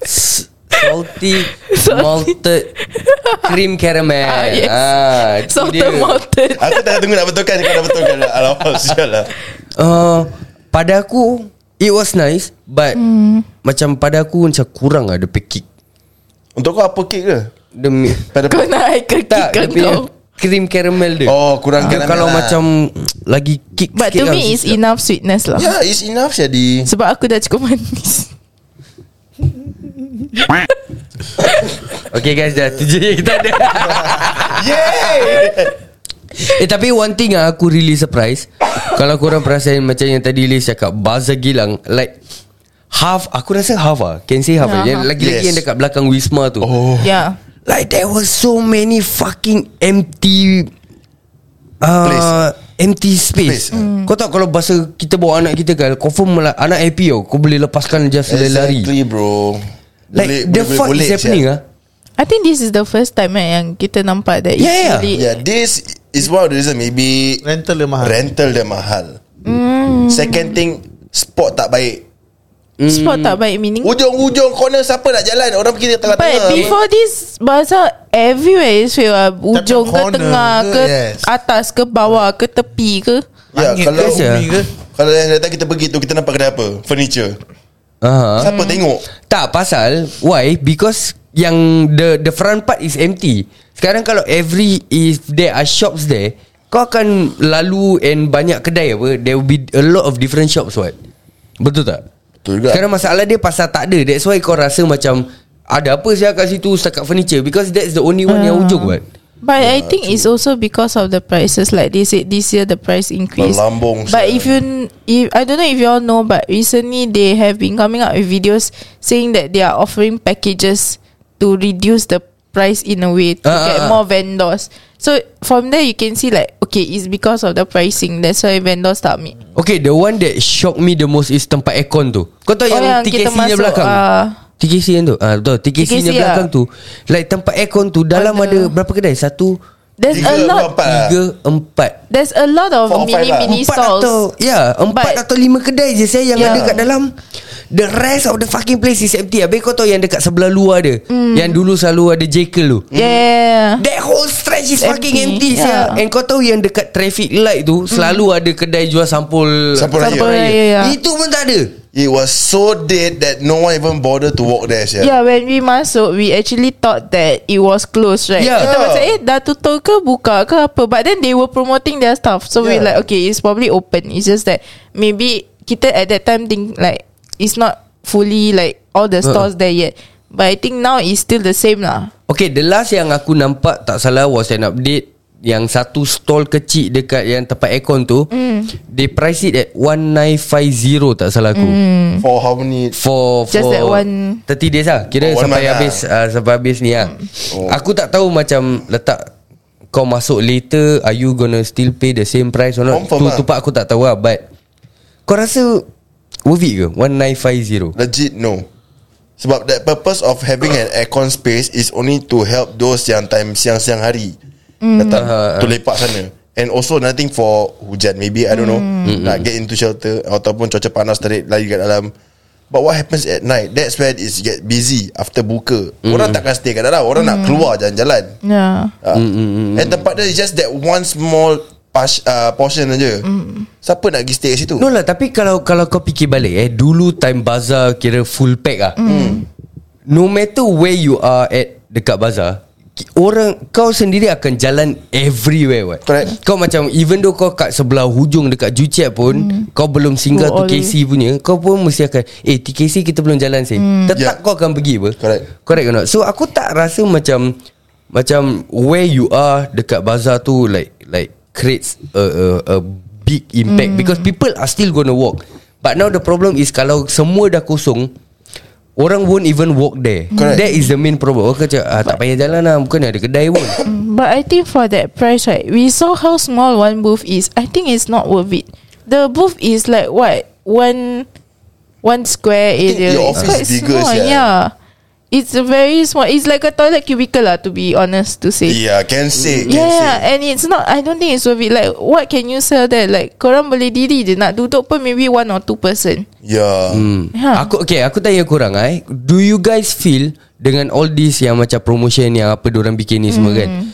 Speaker 3: Salty
Speaker 4: Salty.
Speaker 3: Malted Cream caramel
Speaker 4: Ah, yes.
Speaker 3: ah, itu
Speaker 4: Salted
Speaker 3: dia.
Speaker 4: melted.
Speaker 2: Aku tengah tunggu nak betulkan Kau dah
Speaker 3: [laughs]
Speaker 2: betulkan lah Alamak sial lah
Speaker 3: uh, Pada aku It was nice But hmm. Macam pada aku Macam kurang lah Dia punya kick
Speaker 2: Untuk kau apa kek ke?
Speaker 3: Dia punya-
Speaker 2: Pada
Speaker 4: Kau nak ikut
Speaker 3: Tak Dia
Speaker 4: kan
Speaker 3: punya
Speaker 4: kau.
Speaker 3: Cream caramel dia
Speaker 2: Oh, kurang
Speaker 3: Dia
Speaker 2: caramel
Speaker 3: Kalau
Speaker 2: lah.
Speaker 3: macam Lagi kick
Speaker 4: But
Speaker 3: sikit lah,
Speaker 4: to me
Speaker 3: mesti
Speaker 4: it's
Speaker 3: sedap.
Speaker 4: enough sweetness lah.
Speaker 2: Yeah Ya, it's enough
Speaker 3: [laughs]
Speaker 2: jadi
Speaker 4: Sebab aku dah cukup [laughs] manis.
Speaker 3: Okay guys dah Itu je yang kita ada Eh tapi one thing ah Aku really surprise Kalau korang perasan Macam yang tadi Liz cakap Bazaar Gilang Like Half Aku rasa half ah Can say half
Speaker 4: Ya,
Speaker 3: yeah, yang,
Speaker 4: half.
Speaker 3: Lagi-lagi
Speaker 2: Yes.
Speaker 3: yang dekat belakang Wisma tu
Speaker 2: Oh
Speaker 4: Yeah.
Speaker 3: Like there was so many Fucking empty uh,
Speaker 2: Place.
Speaker 3: Empty space,
Speaker 2: Space,
Speaker 3: Mm. Kau tahu kalau bahasa Kita bawa anak kita kan Confirm lah Anak happy tau Kau boleh lepaskan Just exactly. lari
Speaker 2: Exactly bro
Speaker 3: Like the fuck is
Speaker 2: siap.
Speaker 3: happening ah
Speaker 4: I think this is the first time eh, yang kita nampak that it's
Speaker 3: Yeah, yeah.
Speaker 4: really
Speaker 2: Yeah Ya, this is one of the reason Maybe
Speaker 6: Rental dia mahal
Speaker 2: Rental dia mahal Hmm. Second thing Spot tak baik
Speaker 3: Hmm.
Speaker 4: spot tak baik meaning.
Speaker 3: Oh,
Speaker 2: Ujung-ujung corner Siapa nak jalan Orang pergi
Speaker 4: But
Speaker 2: tengah-tengah
Speaker 4: before this Bazaar everywhere is filled up. Ujung ke
Speaker 6: corner
Speaker 4: tengah
Speaker 6: ke,
Speaker 4: ke
Speaker 6: yes.
Speaker 4: atas ke bawah ke tepi ke
Speaker 2: Ya
Speaker 6: Langit
Speaker 2: kalau
Speaker 6: ke, bumi ke?
Speaker 2: Kalau yang datang kita pergi tu Kita nampak kedai apa Furniture
Speaker 3: uh-huh.
Speaker 2: Siapa tengok
Speaker 3: Tak pasal Why Because Yang the the front part is empty Sekarang kalau every If there are shops there Kau akan lalu And banyak kedai apa There will be a lot of different shops what Betul tak?
Speaker 2: Betul juga.
Speaker 3: Sekarang masalah dia pasal tak ada That's why kau rasa macam Ada apa saya kat situ Setakat furniture Because that's the only one uh. yang
Speaker 4: Ah.
Speaker 3: ujung kan
Speaker 4: But I think it's also because of the prices. Like they said, this year the price increase.
Speaker 2: Melambung
Speaker 4: But
Speaker 2: sia.
Speaker 4: if you, if I don't know if you all know, but recently they have been coming out with videos saying that they are offering packages to reduce the price in a way to
Speaker 3: Ah,
Speaker 4: get
Speaker 3: ah, ah.
Speaker 4: more vendors. So from there you can see like okay, it's because of the pricing. That's why vendors start me.
Speaker 3: Okay the one that shock me the most Is tempat aircon tu Kau tahu
Speaker 4: Oh,
Speaker 3: yang,
Speaker 4: yang
Speaker 3: TKC
Speaker 4: kita
Speaker 3: nya
Speaker 4: masuk,
Speaker 3: belakang
Speaker 4: ah.
Speaker 3: TKC yang tu ah, Betul TKC, nya
Speaker 4: TKC,
Speaker 3: belakang
Speaker 4: ah.
Speaker 3: tu Like tempat aircon tu Dalam ada, ada berapa kedai Satu
Speaker 4: There's
Speaker 2: Tiga
Speaker 4: a
Speaker 2: ke
Speaker 4: lot.
Speaker 2: empat lah?
Speaker 3: Tiga Empat
Speaker 4: There's a lot of
Speaker 2: Four or five
Speaker 4: mini
Speaker 2: lah.
Speaker 4: mini
Speaker 3: Empat
Speaker 4: stalls.
Speaker 3: atau Ya Empat
Speaker 4: But-
Speaker 3: atau lima kedai je Saya yang
Speaker 4: Ya.
Speaker 3: yeah. ada kat dalam The rest of the fucking place is empty Habis kau tahu yang dekat sebelah luar dia mm.
Speaker 4: Hmm.
Speaker 3: Yang dulu selalu ada Jekyll tu
Speaker 2: Hmm.
Speaker 4: Yeah.
Speaker 3: That whole stretch is
Speaker 4: Empty. Ya.
Speaker 3: fucking empty yeah.
Speaker 4: Yeah.
Speaker 3: And kau tahu yang dekat traffic light tu Selalu ada kedai jual sampul
Speaker 2: Sampul raya.
Speaker 4: Hmm. Sampul raya, ya.
Speaker 3: Itu pun tak ada
Speaker 2: It was so dead that no one even bothered to walk there. sia.
Speaker 4: Yeah, when we masuk, we actually thought that it was closed, right?
Speaker 3: Yeah.
Speaker 4: Kita
Speaker 2: Yeah.
Speaker 4: macam, eh, dah tutup ke buka ke apa? But then they were promoting their stuff. So yeah. we
Speaker 2: Yeah.
Speaker 4: like, okay, it's probably open. It's just that maybe kita at that time think like, it's not fully like all the stores there yet. But I think now it's still the same lah.
Speaker 3: Okay the last yang aku nampak Tak salah was an update Yang satu stall kecil Dekat yang tempat aircon tu
Speaker 4: Hmm.
Speaker 3: mm. They price it at 1950 Tak salah aku mm.
Speaker 2: For how many?
Speaker 3: For
Speaker 4: Hmm. Just
Speaker 3: for
Speaker 4: that one-
Speaker 3: 30 days lah
Speaker 2: Oh,
Speaker 3: Kira oh,
Speaker 2: one
Speaker 3: sampai
Speaker 2: month Hmm.
Speaker 3: habis lah. uh, Sampai habis ni lah oh. Aku tak tahu macam Letak Kau masuk later Are you gonna still pay the same price or not
Speaker 2: Confirm
Speaker 3: Tu,
Speaker 2: lah.
Speaker 3: tu part aku tak tahu lah But Kau rasa Worth it ke 1950
Speaker 2: Legit no. Sebab the purpose of having an aircon space is only to help those yang time siang-siang hari mm. datang to lepak sana. And also nothing for hujan maybe I don't know nak get into shelter ataupun cuaca panas terik lari kat dalam. But what happens at night? That's where it get busy after buka. Orang takkan stay kat dalam. Orang nak keluar jalan-jalan.
Speaker 4: Yeah.
Speaker 2: Ah. And tempat dia is just that one small pas, uh, portion aja. Siapa nak pergi stay kat situ?
Speaker 3: No lah tapi kalau Kalau kau fikir balik eh Dulu time bazaar Kira full pack lah
Speaker 4: Hmm.
Speaker 3: No matter where you are at Dekat bazaar ki- Orang Kau sendiri akan jalan Everywhere what
Speaker 2: Correct.
Speaker 3: Kau macam Even though kau kat sebelah hujung Dekat Jucek pun Kau belum singgah
Speaker 4: Hmm. Go all
Speaker 3: TKC punya Kau pun mesti akan Eh TKC kita belum jalan sih
Speaker 4: Hmm.
Speaker 3: Tetap
Speaker 2: Yeah.
Speaker 3: kau akan pergi apa
Speaker 2: Correct.
Speaker 3: Correct or not So aku tak rasa macam Macam Where you are Dekat bazaar tu Like Like Creates a, a, a Big impact Because people are still gonna walk But now the problem is Kalau semua dah kosong Orang won't even walk there
Speaker 2: Correct.
Speaker 3: That is the main problem Orang kata ah, Tak payah jalan lah Bukan ada kedai pun
Speaker 4: But I think for that price, right, we saw how small one booth is. I think it's not worth it. The booth is like what one one square
Speaker 2: think
Speaker 4: area.
Speaker 2: your
Speaker 4: it's
Speaker 2: office
Speaker 4: quite
Speaker 2: bigger,
Speaker 4: small,
Speaker 2: sia.
Speaker 4: yeah. It's a very small. It's like a toilet cubicle, lah, To be honest, to say.
Speaker 2: Yeah, can say. Can
Speaker 4: Yeah, yeah,
Speaker 2: say.
Speaker 4: and it's not. I don't think it's worth it. Like, what can you sell there? Like, korang boleh diri je nak duduk pun maybe one or two person.
Speaker 2: Yeah.
Speaker 4: Yeah.
Speaker 3: Aku okay, aku tanya korang eh. Do you guys feel dengan all this yang macam promotion yang apa orang bikin ni semua kan?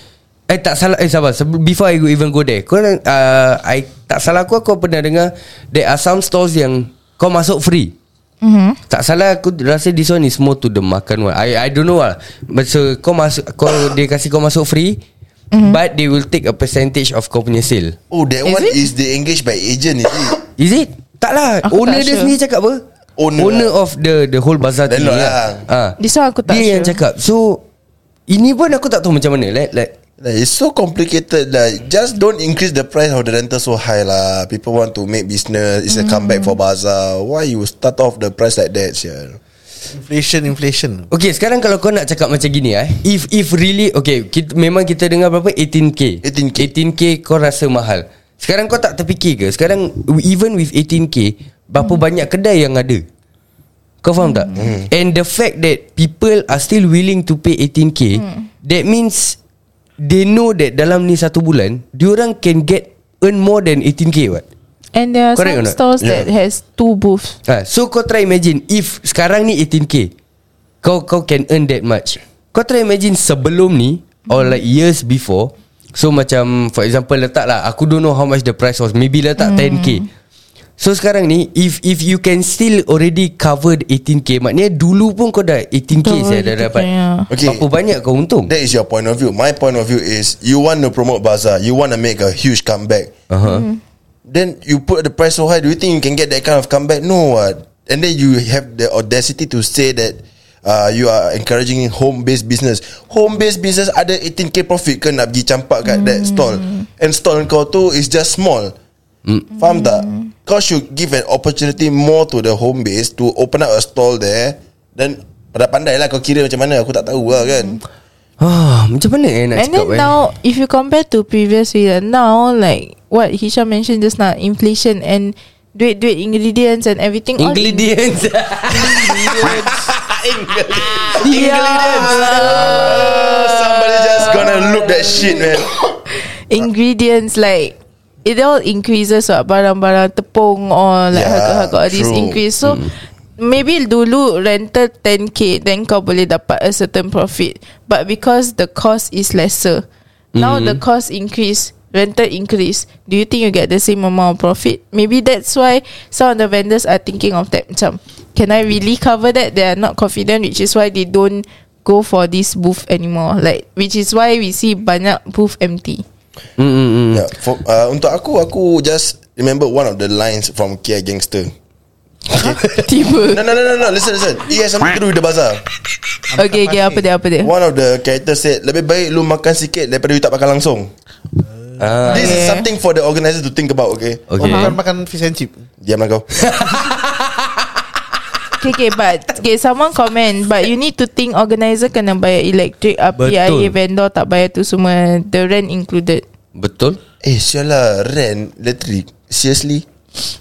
Speaker 3: Eh tak salah eh sabar Sebe- before I go- even go there. Korang uh, I tak salah aku aku pernah dengar there are some stores yang kau masuk free. Mm-hmm. Tak salah aku rasa this one is more to the makan one. I I don't know lah. But so kau masuk kau dia kasi kau masuk free mm-hmm. but they will take a percentage of kau punya sale.
Speaker 2: Oh, that
Speaker 4: Is
Speaker 2: one
Speaker 4: it?
Speaker 2: is the engaged by agent, is
Speaker 4: [coughs]
Speaker 2: it?
Speaker 3: Is it? Tak lah
Speaker 4: Aku
Speaker 3: Owner
Speaker 4: tak
Speaker 3: dia
Speaker 4: sure.
Speaker 3: sendiri cakap apa?
Speaker 2: Owner.
Speaker 3: Owner of the the whole bazaar thingy
Speaker 2: Landlord
Speaker 3: Ah.
Speaker 4: This one aku tak
Speaker 3: Dia
Speaker 4: sure.
Speaker 3: yang cakap So Ini pun aku tak tahu macam mana Like, like
Speaker 2: Like, it's so complicated lah. Just don't increase the price of the rental so high lah. People want to make business. It's a
Speaker 4: Mm.
Speaker 2: comeback for bazaar. Why you start off the price like that, yeah?
Speaker 6: Inflation inflation
Speaker 3: Okay sekarang kalau kau nak cakap macam gini eh If if really Okay kita, memang kita dengar berapa 18k
Speaker 2: 18K.
Speaker 3: 18k kau rasa mahal Sekarang kau tak terfikir ke Sekarang even with 18k Berapa hmm. banyak kedai yang ada Kau faham tak hmm. And the fact that People are still willing to pay 18k hmm. That means They know that dalam ni satu bulan Diorang can get Earn more than 18k what
Speaker 4: And there are
Speaker 3: Correct or
Speaker 4: some
Speaker 3: not?
Speaker 4: stores
Speaker 2: Yeah.
Speaker 4: that has two booths.
Speaker 3: Ha, so kau try imagine If sekarang ni 18k Kau kau can earn that much Kau try imagine sebelum ni Or like years before So macam For example letaklah Aku don't know how much the price was Maybe
Speaker 4: Hmm.
Speaker 3: letak 10k So sekarang ni If if you can still already cover the 18k Maknanya dulu pun kau dah 18k
Speaker 4: Betul,
Speaker 3: saya dah
Speaker 4: 18K,
Speaker 3: dapat
Speaker 4: ya.
Speaker 2: Okay.
Speaker 3: Berapa banyak kau untung
Speaker 2: That is your point of view. My point of view is you want to promote bazaar. You want to make a huge comeback.
Speaker 3: uh-huh.
Speaker 4: Hmm.
Speaker 2: Then you put the price so high. Do you think you can get that kind of comeback? No, what? And then you have the audacity to say that uh, you are encouraging home based business. Home based business ada 18k profit ke nak pergi campak kat that stall. And stall kau tu is just small. Faham tak? Kau should give an opportunity more to the home base to open up a stall there. Then pandai-pandai lah kau kira macam mana aku tak tahu lah kan.
Speaker 3: Ah, macam mana eh nak
Speaker 4: And
Speaker 3: cakap
Speaker 4: then
Speaker 3: eh?
Speaker 4: now, if you compare to previous year, now like what Hisham mentioned just now, inflation and duit duit ingredients and everything. all in- [laughs]
Speaker 3: Ingredients. [laughs]
Speaker 2: Uh, somebody just gonna look that shit man.
Speaker 4: ingredients like it all increases what barang-barang tepung or like
Speaker 2: Yeah,
Speaker 4: harga-harga all this
Speaker 2: true. Mm.
Speaker 4: increase. So maybe dulu rental 10k then kau boleh dapat a certain profit. But because the cost is lesser, now
Speaker 2: Mm.
Speaker 4: the cost increase, rental increase. Do you think you get the same amount of profit? Maybe that's why some of the vendors are thinking of that macam can I really cover that? They are not confident which is why they don't go for this booth anymore. Like which is why we see banyak booth empty.
Speaker 3: Hmm.
Speaker 2: Yeah, for, uh, untuk aku aku just remember one of the lines from Kia Gangster.
Speaker 4: Tiba
Speaker 2: No no no no no listen listen. It has something to do with the bazaar.
Speaker 4: Okay okay apa dia apa
Speaker 3: Eh?
Speaker 4: dia
Speaker 2: One of the characters said lebih baik lu makan sikit daripada you tak makan langsung.
Speaker 3: Ah.
Speaker 2: This is
Speaker 4: Okay.
Speaker 2: something for the organizer to think about, okay?
Speaker 6: Okay.
Speaker 3: okay.
Speaker 6: Makan Oh, makan fish and chip.
Speaker 2: Diamlah
Speaker 3: [laughs]
Speaker 2: kau.
Speaker 4: Okay okay but Okay someone comment But you need to think Organizer kena bayar Electric uh,
Speaker 3: Betul.
Speaker 4: PIA vendor Tak bayar tu semua The rent included
Speaker 3: Betul.
Speaker 2: eh, sialah rent electric. Seriously?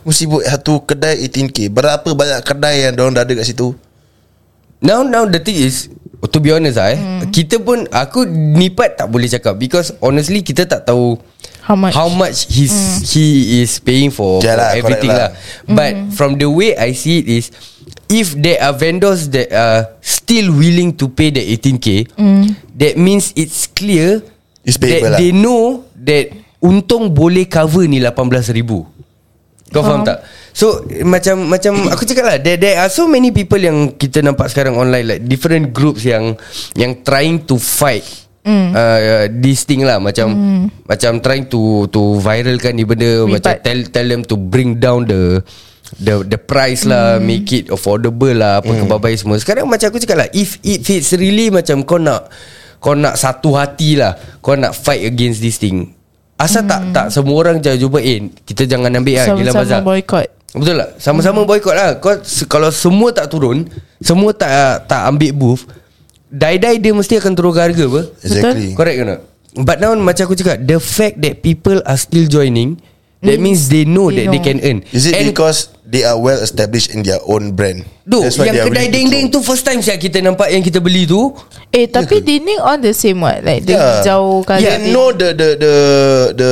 Speaker 2: Mesti buat satu kedai 18k. Berapa banyak kedai yang diorang dah ada kat situ?
Speaker 3: Now now the thing is To be honest lah eh hmm. Kita pun Aku nipat tak boleh cakap Because honestly Kita tak tahu
Speaker 4: How much?
Speaker 3: How much he's, mm. He is paying for,
Speaker 2: Yeah lah,
Speaker 3: for
Speaker 2: correct
Speaker 3: Everything
Speaker 2: lah.
Speaker 3: lah, But from the way I see it is If there are vendors That are Still willing to pay the 18k mm. That means it's clear
Speaker 2: It's payable lah.
Speaker 3: That they know That Untung boleh cover ni 18 ribu kau faham
Speaker 4: Faham.
Speaker 3: tak? So macam macam aku cakap lah there, there are so many people yang kita nampak sekarang online like different groups yang yang trying to fight mm. uh, this thing lah macam mm. macam trying to to viralkan ni benda
Speaker 4: Rebut.
Speaker 3: macam tell tell them to bring down the the the price lah make it affordable lah apa mm. kebabai semua. Sekarang macam aku cakap lah if if it's really macam kau nak kau nak satu hati lah kau nak fight against this thing. Asal tak tak semua orang jangan jumpa eh kita jangan ambil lah Gila
Speaker 4: Sama-sama
Speaker 3: Bazar
Speaker 4: boycott
Speaker 3: Betul tak? Sama-sama hmm. boycott lah Kau, se- Kalau semua tak turun Semua tak tak ambil booth Dai-dai dia mesti akan turun harga apa
Speaker 2: Exactly.
Speaker 3: Correct ke tak? But now macam aku cakap The fact that people are still joining That means they know
Speaker 4: Hmm. They
Speaker 3: that they
Speaker 4: know.
Speaker 3: can earn
Speaker 2: Is it
Speaker 3: And
Speaker 2: because they are well established in their own brand?
Speaker 3: Duh,
Speaker 2: That's why they are
Speaker 3: yang
Speaker 2: willing
Speaker 3: kedai
Speaker 2: to
Speaker 3: ding-ding
Speaker 2: throw.
Speaker 3: tu first time saya kita nampak yang kita beli tu
Speaker 4: Eh tapi yeah. dining all the same what Like the
Speaker 2: Yeah.
Speaker 4: hijau kali
Speaker 2: Yeah, no the the the the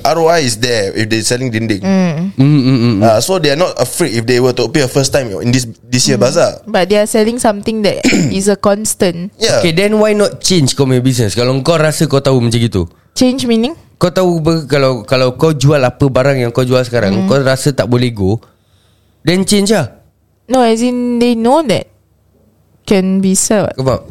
Speaker 2: ROI is there if they selling dinding.
Speaker 3: mm, mm, mm.
Speaker 2: Uh, so they are not afraid if they were to appear first time in this this
Speaker 3: Mm.
Speaker 2: year bazaar.
Speaker 4: But they are selling something
Speaker 2: [coughs]
Speaker 4: that Is a constant
Speaker 2: Yeah.
Speaker 3: Okay then why not change kau punya business Kalau kau rasa kau tahu macam gitu
Speaker 4: Change meaning
Speaker 3: Kau tahu ber, kalau kalau kau jual apa barang yang kau jual sekarang, hmm. kau rasa tak boleh go, then change lah.
Speaker 4: No as in They know that Can be sell what.
Speaker 3: Kau faham?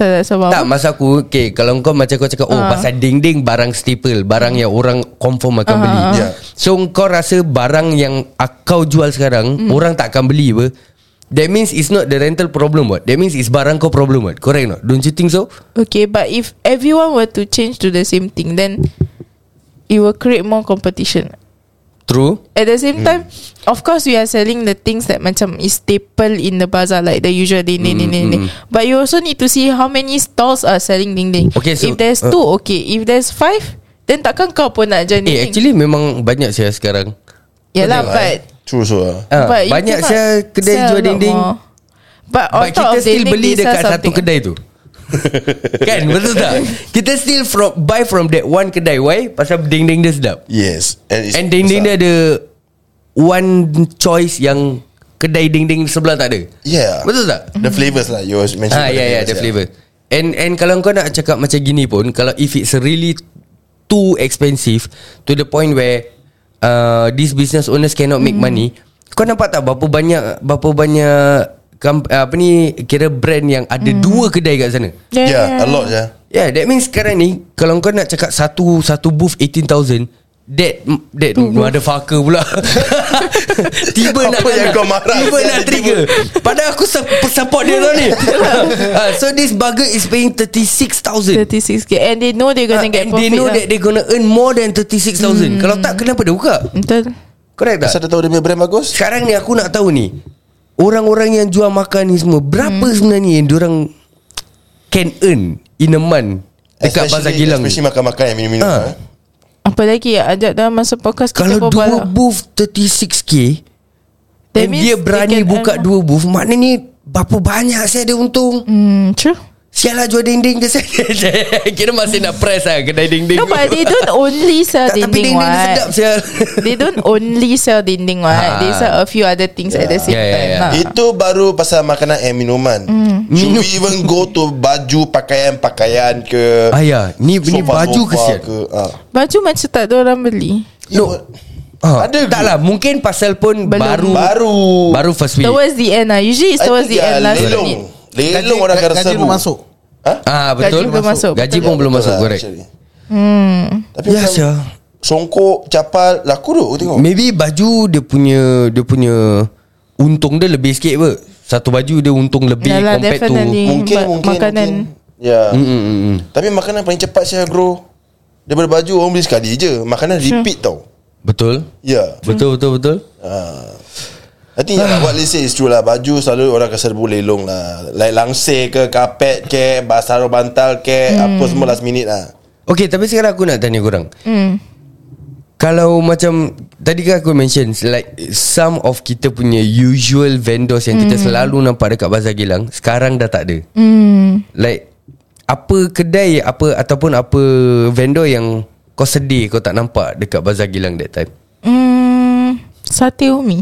Speaker 4: Tak tak sebab
Speaker 3: Tak masa aku okay, Kalau kau macam kau cakap Oh
Speaker 4: Oh. Ah.
Speaker 3: pasal dinding Barang staple Barang yang orang Confirm akan beli
Speaker 2: ah. Yeah.
Speaker 3: So kau rasa Barang yang ak- Kau jual sekarang Orang tak akan beli apa That means it's not the rental problem what That means it's barang kau problem what Correct not Don't you think so
Speaker 4: Okay, but if everyone were to change to the same thing, then it will create more competition.
Speaker 3: True
Speaker 4: At the
Speaker 3: Hmm.
Speaker 4: same time, of course, we are selling the things that macam is staple in the bazaar, like the usual ding ding
Speaker 3: Hmm,
Speaker 4: ding ding. ding. But you also need to see how many stalls are selling ding ding.
Speaker 3: Okay, so-
Speaker 4: if there's
Speaker 3: uh,
Speaker 4: two, okay. If there's five, then takkan kau pun nak join
Speaker 3: Eh actually memang Banyak saya sekarang
Speaker 4: Yalah, lah, but
Speaker 2: True so. Uh.
Speaker 3: Ah,
Speaker 4: but you
Speaker 3: Banyak
Speaker 4: cannot
Speaker 3: saya
Speaker 4: sell
Speaker 3: Kedai
Speaker 4: a
Speaker 3: jual
Speaker 4: lot
Speaker 3: dinding
Speaker 4: more. But, on
Speaker 3: But
Speaker 4: top
Speaker 3: kita
Speaker 4: of
Speaker 3: still
Speaker 4: dinding,
Speaker 3: beli
Speaker 4: they sell
Speaker 3: dekat satu
Speaker 4: something.
Speaker 3: kedai
Speaker 2: [laughs]
Speaker 3: tu Kan betul tak Kita still from, buy from that one kedai Why? Pasal dinding dia sedap
Speaker 2: Yes. And, it's
Speaker 3: And dinding dia
Speaker 2: besar.
Speaker 3: ada One choice yang Kedai dinding sebelah tak ada
Speaker 2: Yeah.
Speaker 3: Betul tak?
Speaker 2: The flavors lah you was mentioning.
Speaker 3: Ah
Speaker 2: about
Speaker 3: ya ya the
Speaker 2: flavours,
Speaker 3: flavor. And and kalau kau nak cakap macam gini pun kalau if it's really too expensive to the point where uh, these business owners cannot make mm. money, kau nampak tak berapa banyak berapa banyak kamp, apa ni kira brand yang ada mm. dua kedai kat sana.
Speaker 2: Yeah. yeah, a lot yeah.
Speaker 3: Yeah, that means sekarang ni kalau kau nak cakap satu satu booth 18,000 That That motherfucker
Speaker 2: [laughs]
Speaker 3: pula Tiba nak
Speaker 2: Apa yang
Speaker 3: nak-
Speaker 2: kau marah?
Speaker 3: Tiba nak trigger Padahal aku sup- support dia
Speaker 2: [laughs]
Speaker 3: tau ni Ah, So this bugger is paying 36,000
Speaker 4: 36k And they know they're
Speaker 3: Ah,
Speaker 4: gonna get
Speaker 3: and
Speaker 4: profit
Speaker 3: they know
Speaker 4: lah.
Speaker 3: that they gonna earn more than
Speaker 2: Hmm.
Speaker 3: 36,000 Kalau tak kenapa dia buka
Speaker 4: Betul
Speaker 3: Correct tak?
Speaker 2: Pasal dia tahu dia punya brand bagus
Speaker 3: Sekarang ni aku nak tahu ni Orang-orang yang jual makan ni semua Berapa hmm. sebenarnya yang diorang Can earn in a month
Speaker 2: Especially-
Speaker 3: Dekat Bazar Gilang ni
Speaker 2: Especially makan-makan yang minum-minum
Speaker 3: Ah.
Speaker 2: ha.
Speaker 4: Apa lagi Ajak dalam masa podcast
Speaker 3: Kalau
Speaker 4: kita berbual
Speaker 3: dua
Speaker 4: lah.
Speaker 3: booth 36k
Speaker 4: That
Speaker 3: And
Speaker 4: means
Speaker 3: dia
Speaker 4: they
Speaker 3: berani
Speaker 4: can
Speaker 3: buka
Speaker 4: earn- lah.
Speaker 3: dua booth Maknanya Berapa banyak saya ada untung hmm.
Speaker 4: Hmm true
Speaker 3: Sial lah jual dinding ke saya [laughs] Kira masih nak press lah Kedai dinding
Speaker 4: No but they don't only sell
Speaker 3: Tak, Tapi
Speaker 4: dinding
Speaker 3: dinding dia sedap [laughs]
Speaker 4: what
Speaker 3: sial
Speaker 4: They don't only sell dinding what
Speaker 3: Ha.
Speaker 4: They sell a few other things at the same
Speaker 3: Yeah, yeah,
Speaker 4: time
Speaker 3: yeah.
Speaker 4: lah.
Speaker 2: Itu baru pasal makanan and minuman
Speaker 3: Mm.
Speaker 2: Should we even go to baju pakaian-pakaian ke
Speaker 3: Ah ya Ni, ni
Speaker 2: sofa-sofa
Speaker 3: baju ke sial
Speaker 2: ke ah.
Speaker 4: Baju macam tak ada orang beli
Speaker 2: No
Speaker 3: ha.
Speaker 2: Ada ke?
Speaker 3: Tak lah Mungkin pasal pun
Speaker 4: Belum.
Speaker 3: baru
Speaker 2: Baru
Speaker 3: Baru first week
Speaker 4: Towards the end lah Usually it's
Speaker 2: I
Speaker 4: towards
Speaker 2: think
Speaker 4: the
Speaker 2: dia
Speaker 4: end last
Speaker 2: Lelong
Speaker 4: minute
Speaker 2: Lelong Eh, orang akan
Speaker 6: gaji
Speaker 2: seru
Speaker 6: belum masuk
Speaker 3: Ah betul.
Speaker 4: Gaji belum masuk,
Speaker 3: Gaji
Speaker 4: betul.
Speaker 3: pun
Speaker 2: Betul
Speaker 3: belum masuk
Speaker 2: lah,
Speaker 3: correct.
Speaker 2: actually.
Speaker 4: Hmm.
Speaker 2: Tapi
Speaker 3: Ya
Speaker 2: macam
Speaker 3: sia.
Speaker 2: Songkok Capal Laku duk tengok
Speaker 3: Maybe baju dia punya dia punya untung dia lebih sikit apa. Satu baju dia untung lebih
Speaker 4: Yalah,
Speaker 3: compared to
Speaker 4: definitely.
Speaker 2: Mungkin
Speaker 4: Ma-
Speaker 2: mungkin
Speaker 4: makanan.
Speaker 2: mungkin. Ya
Speaker 3: Mm, mm, mm, mm.
Speaker 2: Tapi makanan paling cepat saya bro Daripada baju orang beli sekali je Makanan repeat tau
Speaker 3: Betul?
Speaker 2: Ya
Speaker 3: Betul betul betul.
Speaker 2: Ah. I think yeah, what they say is true lah Baju selalu orang akan serbu lelong lah Like langsir ke Kapet ke Basaru bantal ke Apa semua last minute lah
Speaker 3: Okay tapi sekarang aku nak tanya korang
Speaker 4: Hmm
Speaker 3: Kalau macam Tadi kan aku mention Like some of kita punya Usual vendors yang kita selalu nampak Dekat Bazar Gilang Sekarang dah tak ada
Speaker 4: Hmm
Speaker 3: Like Apa kedai apa Ataupun apa vendor yang Kau sedih kau tak nampak Dekat Bazar Gilang that time
Speaker 4: Hmm Sate Umi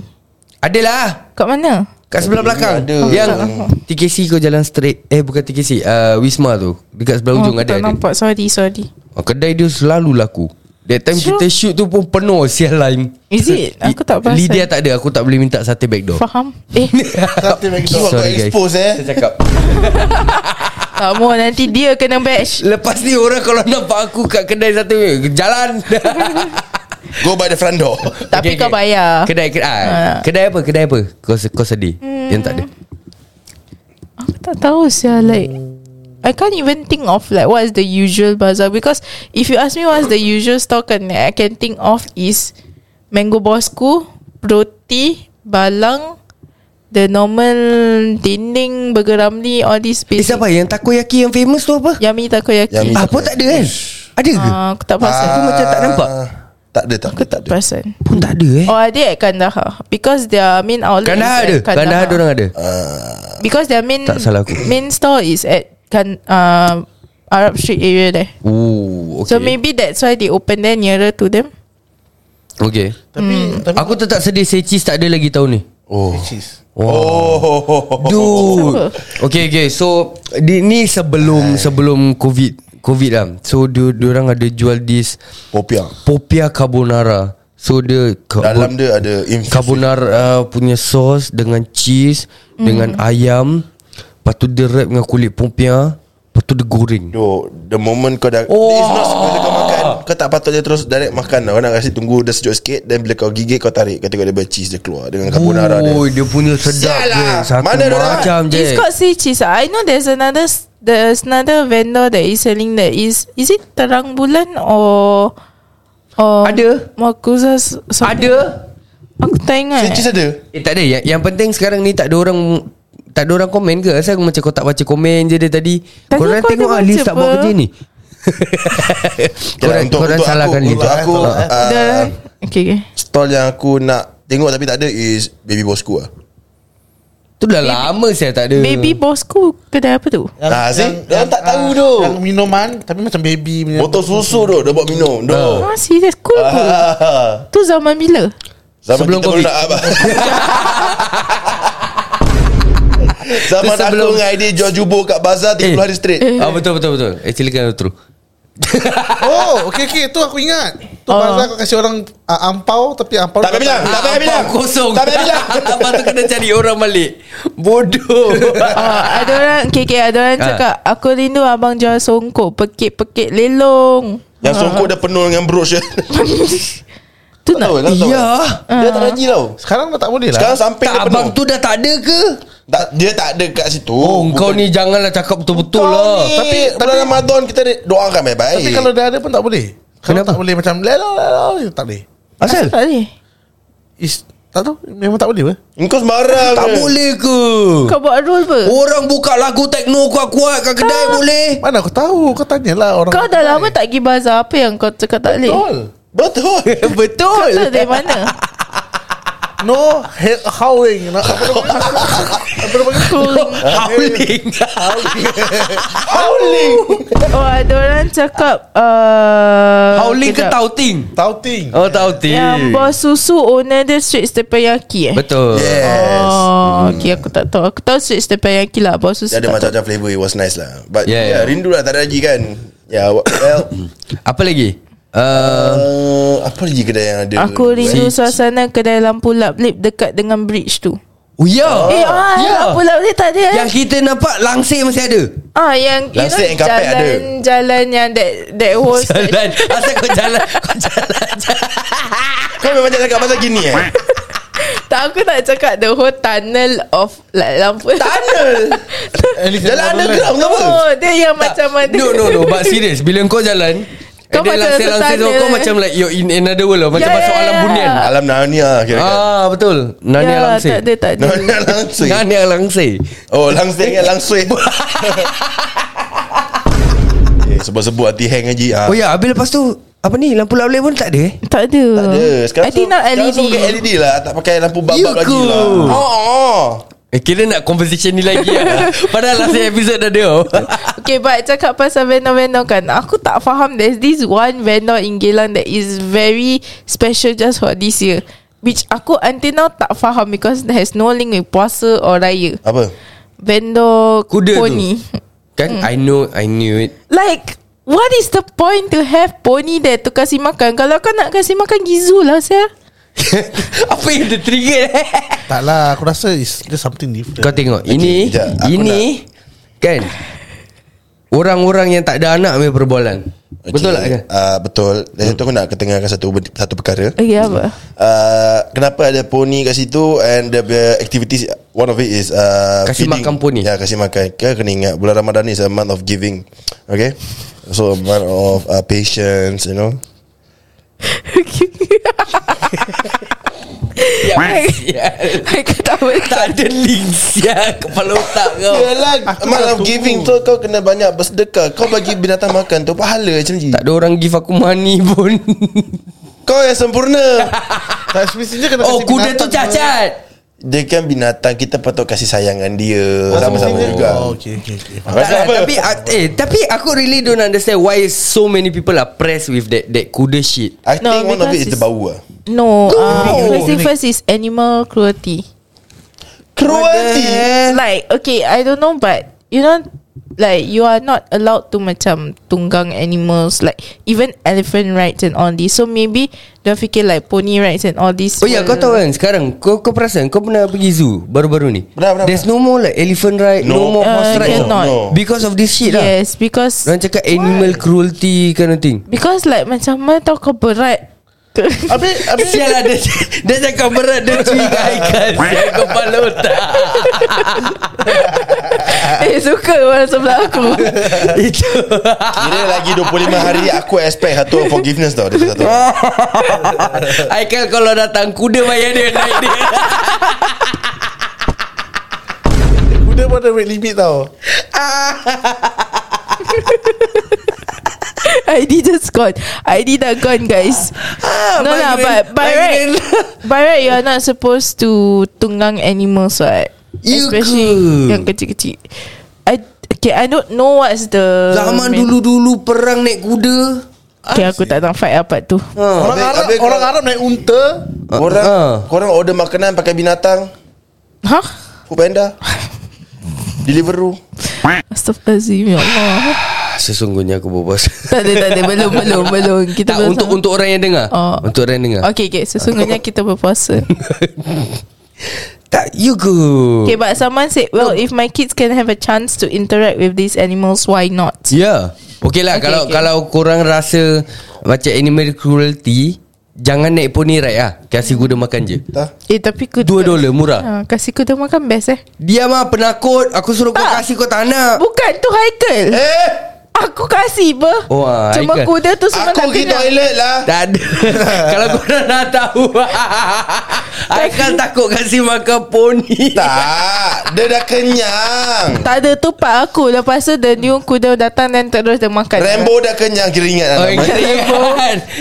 Speaker 3: Adalah
Speaker 4: Kat mana?
Speaker 3: Kat sebelah belakang
Speaker 2: ada.
Speaker 4: Oh,
Speaker 3: Yang TKC kau jalan straight Eh bukan TKC uh, Wisma tu Dekat sebelah
Speaker 4: Oh,
Speaker 3: ujung
Speaker 4: aku
Speaker 3: ada,
Speaker 4: tak
Speaker 3: ada.
Speaker 4: nampak Sorry sorry
Speaker 3: Oh, Kedai dia selalu laku That time
Speaker 4: Sure.
Speaker 3: kita shoot tu pun penuh Sial lain
Speaker 4: Is
Speaker 3: [laughs]
Speaker 4: it? Aku tak perasan.
Speaker 3: Lydia tak ada Aku tak boleh minta sate backdoor
Speaker 4: Faham?
Speaker 3: [laughs]
Speaker 4: Eh
Speaker 2: Satu lagi kau
Speaker 3: Sorry, guys.
Speaker 2: expose eh
Speaker 3: Saya cakap
Speaker 4: tak mau Nanti dia kena bash
Speaker 3: Lepas ni orang kalau nampak aku Kat kedai sate backdoor,
Speaker 4: [laughs]
Speaker 3: Jalan
Speaker 2: Go by the front door
Speaker 4: Tapi kau bayar
Speaker 3: Kedai kedai, ah. kedai apa Kedai apa Kau, se- kau sedih hmm. Yang tak ada
Speaker 4: Aku tak tahu sia like I can't even think of like what is the usual bazaar because if you ask me what's the usual store kan I can think of is Mango Bosku, Roti, Balang, the normal dinding burger ramli all these
Speaker 3: Eh
Speaker 4: basic.
Speaker 3: siapa yang takoyaki yang famous tu apa
Speaker 4: Yummy takoyaki.
Speaker 2: Yummy.
Speaker 3: Ah pun tak ada kan Ada ke
Speaker 4: Ya. Ah, aku tak perasan.
Speaker 3: Aku macam tak nampak.
Speaker 2: Ah, Tak ada tak ada,
Speaker 4: Aku
Speaker 2: tak
Speaker 4: tak
Speaker 2: ada
Speaker 4: perasan.
Speaker 3: Ah. Pun tak ada eh
Speaker 4: Or are they at Kandahar? Because their main outlet
Speaker 3: Kandahar ada
Speaker 4: is at Oh, Kandahar.
Speaker 3: Kandahar dia orang ada
Speaker 4: Because their main
Speaker 3: Tak salah aku.
Speaker 4: main store is at kan uh, Arab Street area there.
Speaker 3: Oh okay.
Speaker 4: So maybe that's why they open there nearer to them.
Speaker 3: Okay
Speaker 6: Tapi
Speaker 4: Hmm.
Speaker 6: tapi
Speaker 3: Aku tetap sedih Sechis tak ada lagi tahun ni
Speaker 2: Oh
Speaker 6: cheese.
Speaker 2: Oh
Speaker 3: Dude Okay okay So di, Ni sebelum Sebelum covid Covid lah So dia, orang ada jual this
Speaker 2: Popia
Speaker 3: Popia carbonara So dia ka-
Speaker 2: Dalam dia ada infused
Speaker 3: Carbonara uh, punya sos Dengan cheese
Speaker 2: Hmm.
Speaker 3: mm. Dengan ayam Lepas tu dia wrap dengan kulit popia Lepas tu dia goreng
Speaker 2: Duh, The moment kau dah
Speaker 3: Oh.
Speaker 2: oh. It's not bila kau makan Kau tak patut dia terus direct makan Kau nak kasi tunggu dia sejuk sikit Then bila kau gigit kau tarik Kau tengok dia cheese dia keluar Dengan carbonara dia
Speaker 3: Oh dia punya sedap
Speaker 2: Sial
Speaker 3: je
Speaker 2: lah.
Speaker 3: Satu
Speaker 2: Mana dia orang?
Speaker 3: macam je
Speaker 4: It's called Say Cheese. ah. I know there's another s- there's another vendor that is selling that is is it Terang Bulan or or
Speaker 3: Ada.
Speaker 4: Makusa
Speaker 3: Ada
Speaker 4: Aku tak ingat.
Speaker 2: Say cheese ada
Speaker 3: Eh tak ada yang, yang penting sekarang ni tak ada orang Tak ada orang komen ke Asal aku macam kau tak baca komen je dia tadi
Speaker 4: Tadi
Speaker 3: Korang
Speaker 4: kau
Speaker 3: tengok ah
Speaker 4: ada baca
Speaker 3: Liz tak buat
Speaker 4: apa?
Speaker 3: kerja ni
Speaker 2: Yalah,
Speaker 3: Korang,
Speaker 2: untuk-
Speaker 3: korang
Speaker 2: untuk
Speaker 3: salahkan
Speaker 2: aku,
Speaker 3: Liz
Speaker 2: Untuk aku ah,
Speaker 4: Ada. Okay, okay.
Speaker 2: Stall yang aku nak Tengok tapi tak ada Is baby bosku lah
Speaker 3: Tu dah lama saya tak ada
Speaker 4: Baby Bosku kedai apa tu?
Speaker 6: Yang,
Speaker 2: Ah, see? Dia orang tak tahu
Speaker 6: ah,
Speaker 2: tu.
Speaker 6: Yang minuman tapi macam baby punya.
Speaker 2: Botol susu tu Dia buat minum Ah. Duh
Speaker 3: Oh.
Speaker 4: Ah, serious cool ke?
Speaker 3: Ah.
Speaker 4: Tu zaman bila?
Speaker 2: Zaman
Speaker 3: Sebelum
Speaker 2: kita baru
Speaker 3: Covid.
Speaker 2: nak
Speaker 3: [laughs]
Speaker 2: abang. Zaman
Speaker 3: Tu sebelum-
Speaker 2: aku dengan Aidil jual jubur kat bazar 30 hari straight
Speaker 3: ah, Betul betul betul Eh silakan Rutru
Speaker 6: Oh, okey okey tu aku ingat. Tu
Speaker 4: Ah.
Speaker 6: pasal aku kasih orang ah, ampau tapi ampau
Speaker 2: Tak payah bilang Tak payah bilang
Speaker 3: kosong
Speaker 2: Tak payah bilang
Speaker 3: [laughs] Abang tu kena cari orang balik
Speaker 2: [laughs]
Speaker 3: Bodoh
Speaker 2: Ah,
Speaker 4: Oh, ada orang KK ada orang
Speaker 3: Ah.
Speaker 4: cakap Aku rindu abang jual songkok Pekit-pekit lelong
Speaker 2: Yang
Speaker 3: Ah.
Speaker 2: songkok dah penuh dengan brooch dia
Speaker 4: [laughs] Tu
Speaker 2: Tahu
Speaker 4: nak
Speaker 2: [laughs] kan tahu
Speaker 3: Ya.
Speaker 2: Dia tak lagi tau
Speaker 6: Sekarang dah tak boleh lah
Speaker 2: Sekarang samping
Speaker 3: Tak
Speaker 2: dia penuh
Speaker 3: abang tu dah tak ada ke?
Speaker 2: tak, Dia tak ada kat situ
Speaker 3: Oh, kau ni janganlah cakap betul-betul lah.
Speaker 2: Tapi, tapi
Speaker 6: Tapi-
Speaker 2: bulan Ramadan kita di- doakan baik-baik
Speaker 6: Tapi kalau dah ada pun tak boleh Kalau
Speaker 3: Kenapa?
Speaker 6: tak boleh macam Lelah lelah Tak boleh
Speaker 3: Asal?
Speaker 4: Tak boleh
Speaker 6: Is, Tak tahu Memang tak boleh apa
Speaker 2: Engkau sembarang
Speaker 3: Tak
Speaker 2: je.
Speaker 3: boleh ke?
Speaker 4: Kau buat rule apa
Speaker 3: Orang buka lagu techno kuat-kuat kat
Speaker 2: [laughs]
Speaker 3: kedai
Speaker 2: Ah.
Speaker 3: boleh?
Speaker 6: Mana aku tahu Kau tanyalah orang
Speaker 4: Kau dah lama tak pergi bazar Apa yang kau cakap tak boleh
Speaker 2: Betul
Speaker 6: Betul
Speaker 4: Kau
Speaker 3: [laughs] Betul.
Speaker 4: tahu dari mana
Speaker 6: No head howling Nak- Apa nama
Speaker 4: [laughs]
Speaker 6: Apa nama
Speaker 4: Cooling
Speaker 3: Howling.
Speaker 2: Ah,
Speaker 6: Howling
Speaker 4: Wah ada orang cakap uh,
Speaker 3: Howling ke
Speaker 4: kejap.
Speaker 3: tauting?
Speaker 6: Tauting
Speaker 3: Oh, tauting.
Speaker 4: Yang Ya, bos susu Owner dia Straits Teppanyaki eh
Speaker 3: Betul.
Speaker 2: Yes
Speaker 4: Oh Okay aku tak tahu Aku tahu Straits Teppanyaki lah Bos susu
Speaker 2: Dia ada
Speaker 4: tak tahu.
Speaker 2: macam-macam flavour It was nice lah But
Speaker 3: Yeah,
Speaker 2: yeah,
Speaker 3: yeah.
Speaker 2: rindu lah tak ada lagi kan Ya yeah, well
Speaker 3: Apa lagi? Uh,
Speaker 2: uh, Apa lagi kedai yang ada
Speaker 4: Um, Aku rindu suasana Kedai lampu lap-lip Dekat dengan bridge tu
Speaker 3: oh, ya.
Speaker 4: Eh ah,
Speaker 3: Ya.
Speaker 4: Lampu lap-lip tak ada eh
Speaker 3: Yang kita nampak langsir masih ada.
Speaker 4: Ah yang you
Speaker 2: Langsir
Speaker 4: know,
Speaker 2: and carpet
Speaker 4: jalan
Speaker 2: ada.
Speaker 4: jalan yang that that whole
Speaker 3: [laughs] Jalan. Asal kau jalan,
Speaker 4: [laughs]
Speaker 3: kau jalan.
Speaker 2: Kau memang tak cakap pasal gini eh
Speaker 4: tak aku nak cakap the whole tunnel of like, lampu tunnel [laughs]
Speaker 2: Jalan underground ke apa
Speaker 4: oh dia yang macam
Speaker 3: Tak.
Speaker 4: ada
Speaker 3: No no no
Speaker 4: [laughs]
Speaker 3: But serious Bila kau jalan
Speaker 4: Kau
Speaker 3: Kau macam
Speaker 4: macam
Speaker 3: langsir-langsir tu,
Speaker 4: sesana.
Speaker 3: Kau macam like You're in another world lah. Macam
Speaker 4: Ya,
Speaker 3: masuk
Speaker 4: ya,
Speaker 3: alam
Speaker 4: ya.
Speaker 3: bunian
Speaker 2: Alam Narnia kira kan
Speaker 3: Ah betul Nanya
Speaker 4: ya,
Speaker 3: langsir
Speaker 4: tak ada Oh,
Speaker 2: [laughs]
Speaker 4: tak ada
Speaker 2: Narnia langsir
Speaker 3: Nanya langsir
Speaker 2: Oh langsir ingat
Speaker 4: [laughs]
Speaker 2: langsir Eh sebut-sebut hati hang haji ah.
Speaker 3: Oh ya habis lepas tu Apa ni Lampu lap-lap pun tak ada eh
Speaker 4: tak ada
Speaker 2: Tak ada Sekarang
Speaker 4: I think not E
Speaker 2: sekarang
Speaker 4: LED
Speaker 2: semua pakai LED lah Tak pakai lampu
Speaker 3: You
Speaker 2: babak lagi
Speaker 3: cool.
Speaker 2: lah Oh, oh.
Speaker 3: Eh kira nak conversation ni lagi
Speaker 4: [laughs]
Speaker 3: lah. Padahal last episode dah ada
Speaker 4: Okay but cakap pasal vendor-vendor kan Aku tak faham There's this one vendor in Geylang That is very special just for this year Which aku until now tak faham Because it has no link with puasa or raya
Speaker 2: Apa
Speaker 4: Vendor
Speaker 3: Kuda tu.
Speaker 4: pony
Speaker 3: Kan
Speaker 4: Hmm.
Speaker 3: I know I knew it
Speaker 4: [laughs] Like What is the point to have pony there to kasih makan? Kalau kau nak kasih makan gizu lah saya.
Speaker 3: [laughs] Apa yang dia trigger eh
Speaker 6: Tak lah Aku rasa It's just something different
Speaker 3: Kau tengok Ini
Speaker 2: kejap. Aku
Speaker 3: Ini Kan Orang-orang yang tak ada anak punya perbualan
Speaker 2: Okay.
Speaker 3: Betul tak kan
Speaker 2: Ah, betul. Dan hmm. aku nak ketengahkan satu ber- satu perkara.
Speaker 4: Okay Eh,
Speaker 3: [laughs]
Speaker 4: apa? [laughs]
Speaker 2: Uh, kenapa ada pony kat situ and the uh, activities one of it is uh,
Speaker 3: Kasih makan pony.
Speaker 2: Ya, kasih makan. Kau kena ingat bulan Ramadan is a month of giving. Okay? So a month of uh, patience, you know.
Speaker 4: [laughs]
Speaker 3: Ya, sial.
Speaker 4: Aku tak boleh
Speaker 3: [laughs] Tak ada link sial Kepala otak kau
Speaker 2: Yalah, a month of giving tu kau kena banyak bersedekah. Kau bagi binatang makan tu pahala macam ni.
Speaker 3: Tak ada orang give aku money pun
Speaker 2: Kau yang sempurna.
Speaker 6: Tak semestinya kena
Speaker 3: Oh
Speaker 6: kasih
Speaker 3: kuda tu
Speaker 6: binatang
Speaker 3: cacat
Speaker 2: dia kan binatang kita patut kasih sayang dengan dia
Speaker 6: semua.
Speaker 2: sama-sama
Speaker 6: Semestinya-
Speaker 2: juga.
Speaker 6: Oh okay, okay, okay. Faham.
Speaker 2: Rasa
Speaker 3: tak,
Speaker 2: apa?
Speaker 3: tapi ak- eh tapi aku really don't understand why so many people are pressed with that that kuda shit.
Speaker 2: I think
Speaker 4: No,
Speaker 2: one of it
Speaker 4: because
Speaker 2: is the
Speaker 4: it's-
Speaker 2: bau lah.
Speaker 3: No.
Speaker 4: No, Uh, first thing first is animal cruelty.
Speaker 2: Cruelty.
Speaker 3: Eh.
Speaker 4: Like okay, I don't know, but you know, like you are not allowed to macam tunggang animals, like even elephant rides and all this. So maybe dia fikir like pony rides and all this.
Speaker 3: Oh ya kau tahu kan sekarang kau kau perasan kau pernah pergi zoo baru-baru ni.
Speaker 2: Benar, benar,
Speaker 3: There's no more like elephant ride, no,
Speaker 2: No.
Speaker 3: more horse
Speaker 4: Uh,
Speaker 3: ride
Speaker 4: cannot.
Speaker 2: No.
Speaker 3: because of this shit lah.
Speaker 4: Yes, because
Speaker 3: Orang cakap animal cruelty kind of thing.
Speaker 4: because like macam mana tahu kau berat.
Speaker 6: Habis Habis
Speaker 3: [laughs] Sial lah dia, dia cakap berat Dia cuy ke [laughs] Haikal Sial kepala [laughs] otak
Speaker 4: [laughs] eh suka orang sebelah aku.
Speaker 3: [laughs] Itu
Speaker 2: Kira lagi 25 hari Aku expect satu forgiveness tau Dia satu
Speaker 3: Haikal kalau datang Kuda bayar dia Naik dia
Speaker 6: Kuda pun ada weight limit tau
Speaker 4: [laughs] ID just gone. ID dah gone guys.
Speaker 3: Ah,
Speaker 4: no lah,
Speaker 3: migraine-
Speaker 4: but by right, by right you are not supposed to tunggang animals right?
Speaker 3: You
Speaker 4: Especially
Speaker 3: ke?
Speaker 4: yang kecil-kecil. I okay, I don't know what's the
Speaker 3: [laughs] Zaman
Speaker 4: main-
Speaker 3: dulu-dulu Perang naik kuda
Speaker 4: Okay, aku tak nak fight apa tu.
Speaker 6: Orang
Speaker 2: Habis-
Speaker 6: Arab
Speaker 2: habis kau-
Speaker 6: Orang Arab naik unta
Speaker 2: Korang
Speaker 3: Ah.
Speaker 2: Korang order makanan Pakai binatang
Speaker 4: Hah?
Speaker 2: Food panda
Speaker 3: [laughs]
Speaker 2: Deliveroo
Speaker 4: Astaghfirullahalazim ya
Speaker 3: [laughs]
Speaker 4: Allah.
Speaker 3: Ah, Sesungguhnya aku berpuasa
Speaker 4: tak ada tak ada belum belum belum [laughs] kita
Speaker 3: Tak
Speaker 4: belum
Speaker 3: untuk
Speaker 4: sampai.
Speaker 3: untuk orang yang dengar
Speaker 4: Oh.
Speaker 3: Untuk orang yang dengar
Speaker 4: Okay, okay. Sesungguhnya kita
Speaker 3: [laughs]
Speaker 4: berpuasa.
Speaker 3: Tak you go
Speaker 4: Okay, but someone said, well, if my kids can have a chance to interact with these animals, why not?
Speaker 3: Yeah Okay lah
Speaker 4: Okay,
Speaker 3: okay, kalau
Speaker 4: okay.
Speaker 3: okay. kalau korang rasa macam animal cruelty, jangan naik pony ride lah. Kasih kuda makan je.
Speaker 2: Tah.
Speaker 4: Eh tapi kuda
Speaker 3: Dua dolar murah.
Speaker 4: ha, Kasih kuda makan best eh
Speaker 3: Dia mah penakut. Aku suruh kau
Speaker 4: Tak.
Speaker 3: kasih kau tak nak.
Speaker 4: Bukan tu Haikal
Speaker 2: Eh
Speaker 4: Aku kasih ber
Speaker 3: Oh, ah,
Speaker 4: Cuma
Speaker 3: Haikal.
Speaker 4: kuda tu semua
Speaker 2: Aku
Speaker 4: nak
Speaker 2: pergi
Speaker 4: kenyang.
Speaker 2: toilet lah
Speaker 3: Tak ada Kalau korang dah tahu Aikal takut kasih makan poni
Speaker 2: Tak Dia dah kenyang
Speaker 4: Tak ada tu pak aku Lepas tu the new kuda datang Dan terus dia makan
Speaker 2: Rambo dah kenyang Kira ingat
Speaker 3: Oh,
Speaker 2: oh,
Speaker 3: ingat Rambo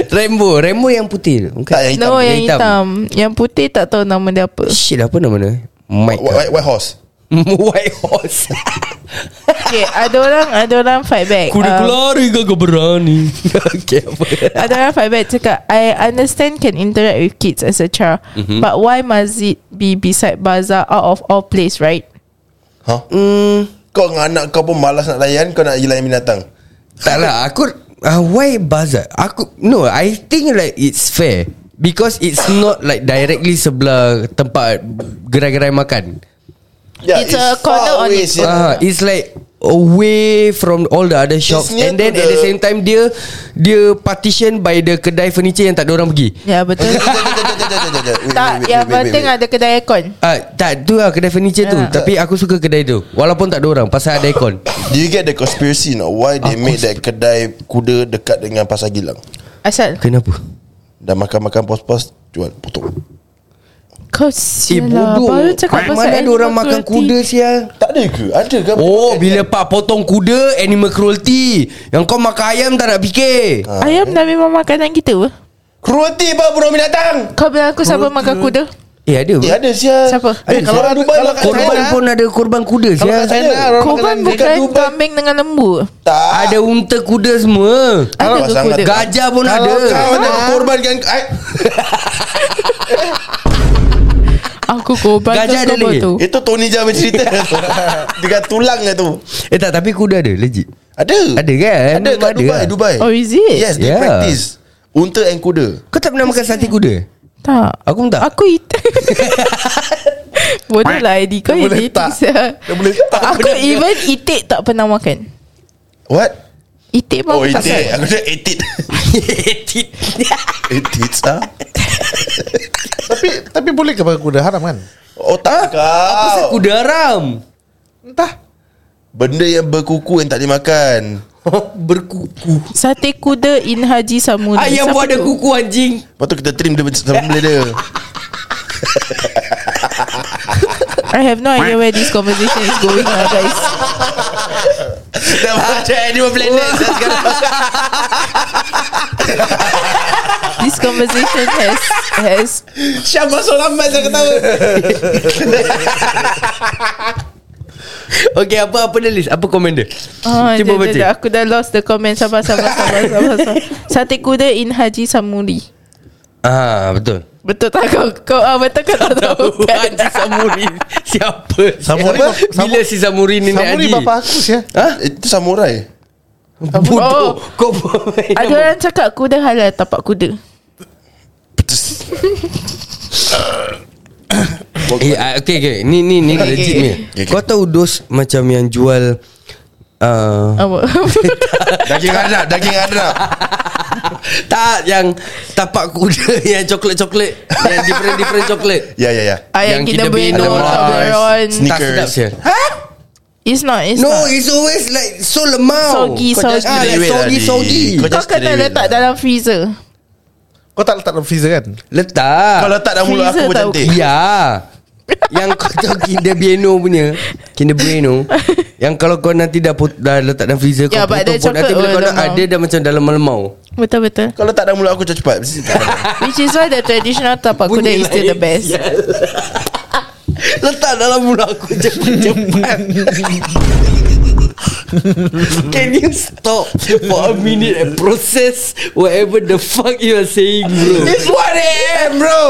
Speaker 3: Rambo Rambo yang putih tu,
Speaker 2: Tak
Speaker 3: Bukan
Speaker 2: yang hitam
Speaker 4: No
Speaker 3: Yang
Speaker 4: yang hitam.
Speaker 3: hitam.
Speaker 4: Yang putih tak tahu nama dia apa
Speaker 3: Shit apa nama dia Mike
Speaker 2: White, white, white horse
Speaker 3: [laughs] White horse
Speaker 4: Okay ada orang Ada orang fight back Um,
Speaker 3: kelari kau berani [laughs] Okay apa
Speaker 4: Ada orang fight back cakap I understand can interact with kids as a child
Speaker 3: Mhm.
Speaker 4: mm-hmm. But why must it be beside bazaar Out of all place right
Speaker 2: huh? Ha?
Speaker 4: Hmm.
Speaker 2: Kau dengan anak kau pun malas nak layan Kau nak layan binatang
Speaker 3: Tak lah Aku uh, Why bazaar Aku No I think like It's fair Because it's not like Directly sebelah Tempat Gerai-gerai makan
Speaker 2: yeah,
Speaker 4: It's a corner on its
Speaker 2: sia. [laughs]
Speaker 3: Ah, it's like away from all the other shops
Speaker 2: near
Speaker 3: and then
Speaker 2: to
Speaker 3: at the
Speaker 2: the-
Speaker 3: same time dia dia partition by the kedai furniture yang tak ada orang pergi.
Speaker 4: Ya betul
Speaker 2: [laughs] Jap, jap, jap, jap, jap, jap, jap. Wait, wait,
Speaker 4: Tak
Speaker 2: wait, wait,
Speaker 4: yang
Speaker 2: wait,
Speaker 4: penting
Speaker 2: wait.
Speaker 4: ada kedai aircon
Speaker 3: Ah, tak tu lah kedai furniture tu
Speaker 4: Yeah.
Speaker 3: Tapi aku suka kedai tu Walaupun tak ada orang Pasal ada aircon
Speaker 2: Do you get the conspiracy not Why they made that kedai Kuda dekat dengan Pasar Gilang
Speaker 4: Asal
Speaker 3: Kenapa?
Speaker 2: Dah makan-makan pos-pos Jual potong
Speaker 4: Kau
Speaker 3: Eh
Speaker 4: sial lah
Speaker 3: bodoh
Speaker 4: Baru cakap pasal
Speaker 3: Mana ada
Speaker 4: animal
Speaker 3: orang makan
Speaker 4: cruelty.
Speaker 3: kuda sial
Speaker 2: Tak ada ke? Ada ke?
Speaker 3: Oh bila pak potong kuda Animal cruelty Yang kau makan ayam tak nak fikir
Speaker 4: Ayam dah memang makanan kita apa?
Speaker 2: Cruelty apa burung binatang?
Speaker 4: Kau bilang aku siapa makan kuda
Speaker 3: Eh ada
Speaker 2: Eh
Speaker 3: yeah.
Speaker 2: ada sial
Speaker 4: Siapa?
Speaker 2: Eh, kalau
Speaker 6: Ada,
Speaker 2: Dubai lah
Speaker 6: kalau
Speaker 2: kat
Speaker 3: Korban
Speaker 2: China.
Speaker 3: pun Ya, ada korban kuda
Speaker 6: Kalau
Speaker 3: sial
Speaker 6: kat China
Speaker 2: ada.
Speaker 6: orang
Speaker 4: Korban
Speaker 6: makan
Speaker 4: bukan
Speaker 2: Dubai.
Speaker 4: kambing dengan lembu
Speaker 2: Tak
Speaker 3: Ada unta kuda semua
Speaker 4: Ada
Speaker 2: Kalau
Speaker 4: ke
Speaker 2: sangat
Speaker 4: kuda?
Speaker 3: Gajah pun
Speaker 6: Kalau
Speaker 3: ada Ah.
Speaker 2: Kau nak korbankan eh,
Speaker 4: Aku korban
Speaker 3: Gajah ada
Speaker 4: kau
Speaker 3: lagi?
Speaker 4: tu
Speaker 2: Eh, Itu Tony Jaa [laughs] bercerita Dengan tulang dia tu
Speaker 3: Eh tak tapi kuda ada legit
Speaker 2: Ada
Speaker 3: Ada kan?
Speaker 2: Ada kat
Speaker 3: Ada
Speaker 2: Dubai
Speaker 3: kan?
Speaker 2: Dubai
Speaker 4: Oh, is it?
Speaker 2: Yes they
Speaker 3: Yeah.
Speaker 2: practice Unta and kuda
Speaker 3: Kau tak pernah makan sate kuda?
Speaker 4: Tak
Speaker 3: Aku pun tak.
Speaker 4: Aku eating [laughs] Bodoh lah Eddie Kau
Speaker 2: Dia
Speaker 4: yang
Speaker 2: boleh
Speaker 4: eating
Speaker 2: tak.
Speaker 4: [laughs] sial.
Speaker 2: Dia boleh tak.
Speaker 4: Aku even itik tak pernah makan
Speaker 2: What?
Speaker 4: Itik pun
Speaker 2: Oh
Speaker 4: aku tak
Speaker 2: itik
Speaker 4: suka.
Speaker 2: Aku cakap [laughs] itik
Speaker 3: Eh,
Speaker 2: Itik sah
Speaker 6: Tapi tapi boleh ke pakai kuda haram kan?
Speaker 2: Oh tak
Speaker 3: Pasal
Speaker 2: kau
Speaker 3: kuda [laughs] haram
Speaker 6: Entah.
Speaker 2: Benda yang berkuku yang tak dimakan
Speaker 3: Berkuku
Speaker 4: Sate kuda in Haji Samudin
Speaker 3: Ayam pun ada kuku anjing
Speaker 2: Lepas tu kita trim dia Sambal dia
Speaker 4: I have no idea where this conversation is going lah guys
Speaker 2: Dah macam Animal
Speaker 3: [laughs]
Speaker 2: Planet sia sekarang.
Speaker 4: This conversation has has
Speaker 2: Syam masuk lambat Saya
Speaker 3: [laughs]
Speaker 2: ketawa
Speaker 3: Okay apa apa dia list Apa komen dia
Speaker 4: Ah,
Speaker 3: [laughs] Cuba
Speaker 4: jap, jap,
Speaker 3: baca
Speaker 4: jap. Aku dah lost the comment Sabar sabar sabar sabar,
Speaker 3: [laughs]
Speaker 4: sabar. Sate kuda in Haji Samuri
Speaker 3: Ah betul
Speaker 4: Betul tak kau, kau ah, Betul kau tak tahu
Speaker 3: Tahu [laughs]
Speaker 4: kan?
Speaker 3: Haji Samuri Siapa
Speaker 6: Samuri
Speaker 3: Siapa?
Speaker 6: bapa-
Speaker 3: Bila si Samuri ni naik
Speaker 6: Kamu ni
Speaker 3: haji
Speaker 6: bapak aku sih. ya.
Speaker 2: Ha? Itu samurai
Speaker 4: Oh.
Speaker 3: Bodoh Kau pemain
Speaker 4: Ada orang cakap kuda halal tapak kuda
Speaker 3: Eh, ah, okay, okay. Ni ni ni legit ni.
Speaker 2: okay.
Speaker 3: Kau tahu dos macam yang jual uh, [laughs]
Speaker 4: Apa?
Speaker 2: Daging hadap Daging hadap
Speaker 3: tak yang tapak kuda [laughs] yang coklat-coklat yang different-different coklat.
Speaker 2: Ya ya ya
Speaker 4: Ayam
Speaker 3: Yang
Speaker 4: kita
Speaker 3: Kinder
Speaker 4: Bueno
Speaker 3: Bueno,
Speaker 4: Toblerone
Speaker 2: Sneak-
Speaker 3: Tak sedap
Speaker 2: Snickers.
Speaker 3: sia.
Speaker 4: It's not It's
Speaker 3: No,
Speaker 4: not
Speaker 3: it's always like so lemau.
Speaker 4: Soggy,
Speaker 3: Kau just-
Speaker 4: soggy.
Speaker 3: Ah, like
Speaker 2: Cerewet lah,
Speaker 3: soggy,
Speaker 2: Adi.
Speaker 3: soggy.
Speaker 2: Kau
Speaker 4: Kau
Speaker 2: just
Speaker 4: kena
Speaker 2: cerewet
Speaker 4: letak
Speaker 2: lah.
Speaker 4: dalam freezer
Speaker 6: Kau tak letak dalam freezer
Speaker 3: [laughs]
Speaker 6: kan?
Speaker 3: Letak.
Speaker 2: Kau letak dalam mulut aku
Speaker 4: Freezer
Speaker 2: macam
Speaker 4: tau.
Speaker 2: teh
Speaker 3: Ya. yang kau [laughs] tahu Kinder Bueno punya Kinder Bueno Yang kalau kau nanti dah, put, dah letak dalam freezer Kau
Speaker 4: Ya, but dia
Speaker 3: potong-potong Nanti
Speaker 4: coklat
Speaker 3: bila kau
Speaker 4: will
Speaker 3: nak
Speaker 4: lemau.
Speaker 3: Ada dah macam dalam lemau [laughs]
Speaker 4: Betul-betul
Speaker 2: Kalau tak dalam mulut aku macam cepat
Speaker 4: Which is why the traditional tapak kuda
Speaker 3: Bunyi
Speaker 4: is still
Speaker 3: lain,
Speaker 4: the best
Speaker 3: sial. [laughs] Letak dalam mulut aku cepat-cepat Can you stop for a minute and process whatever the fuck you are saying bro It's 1am bro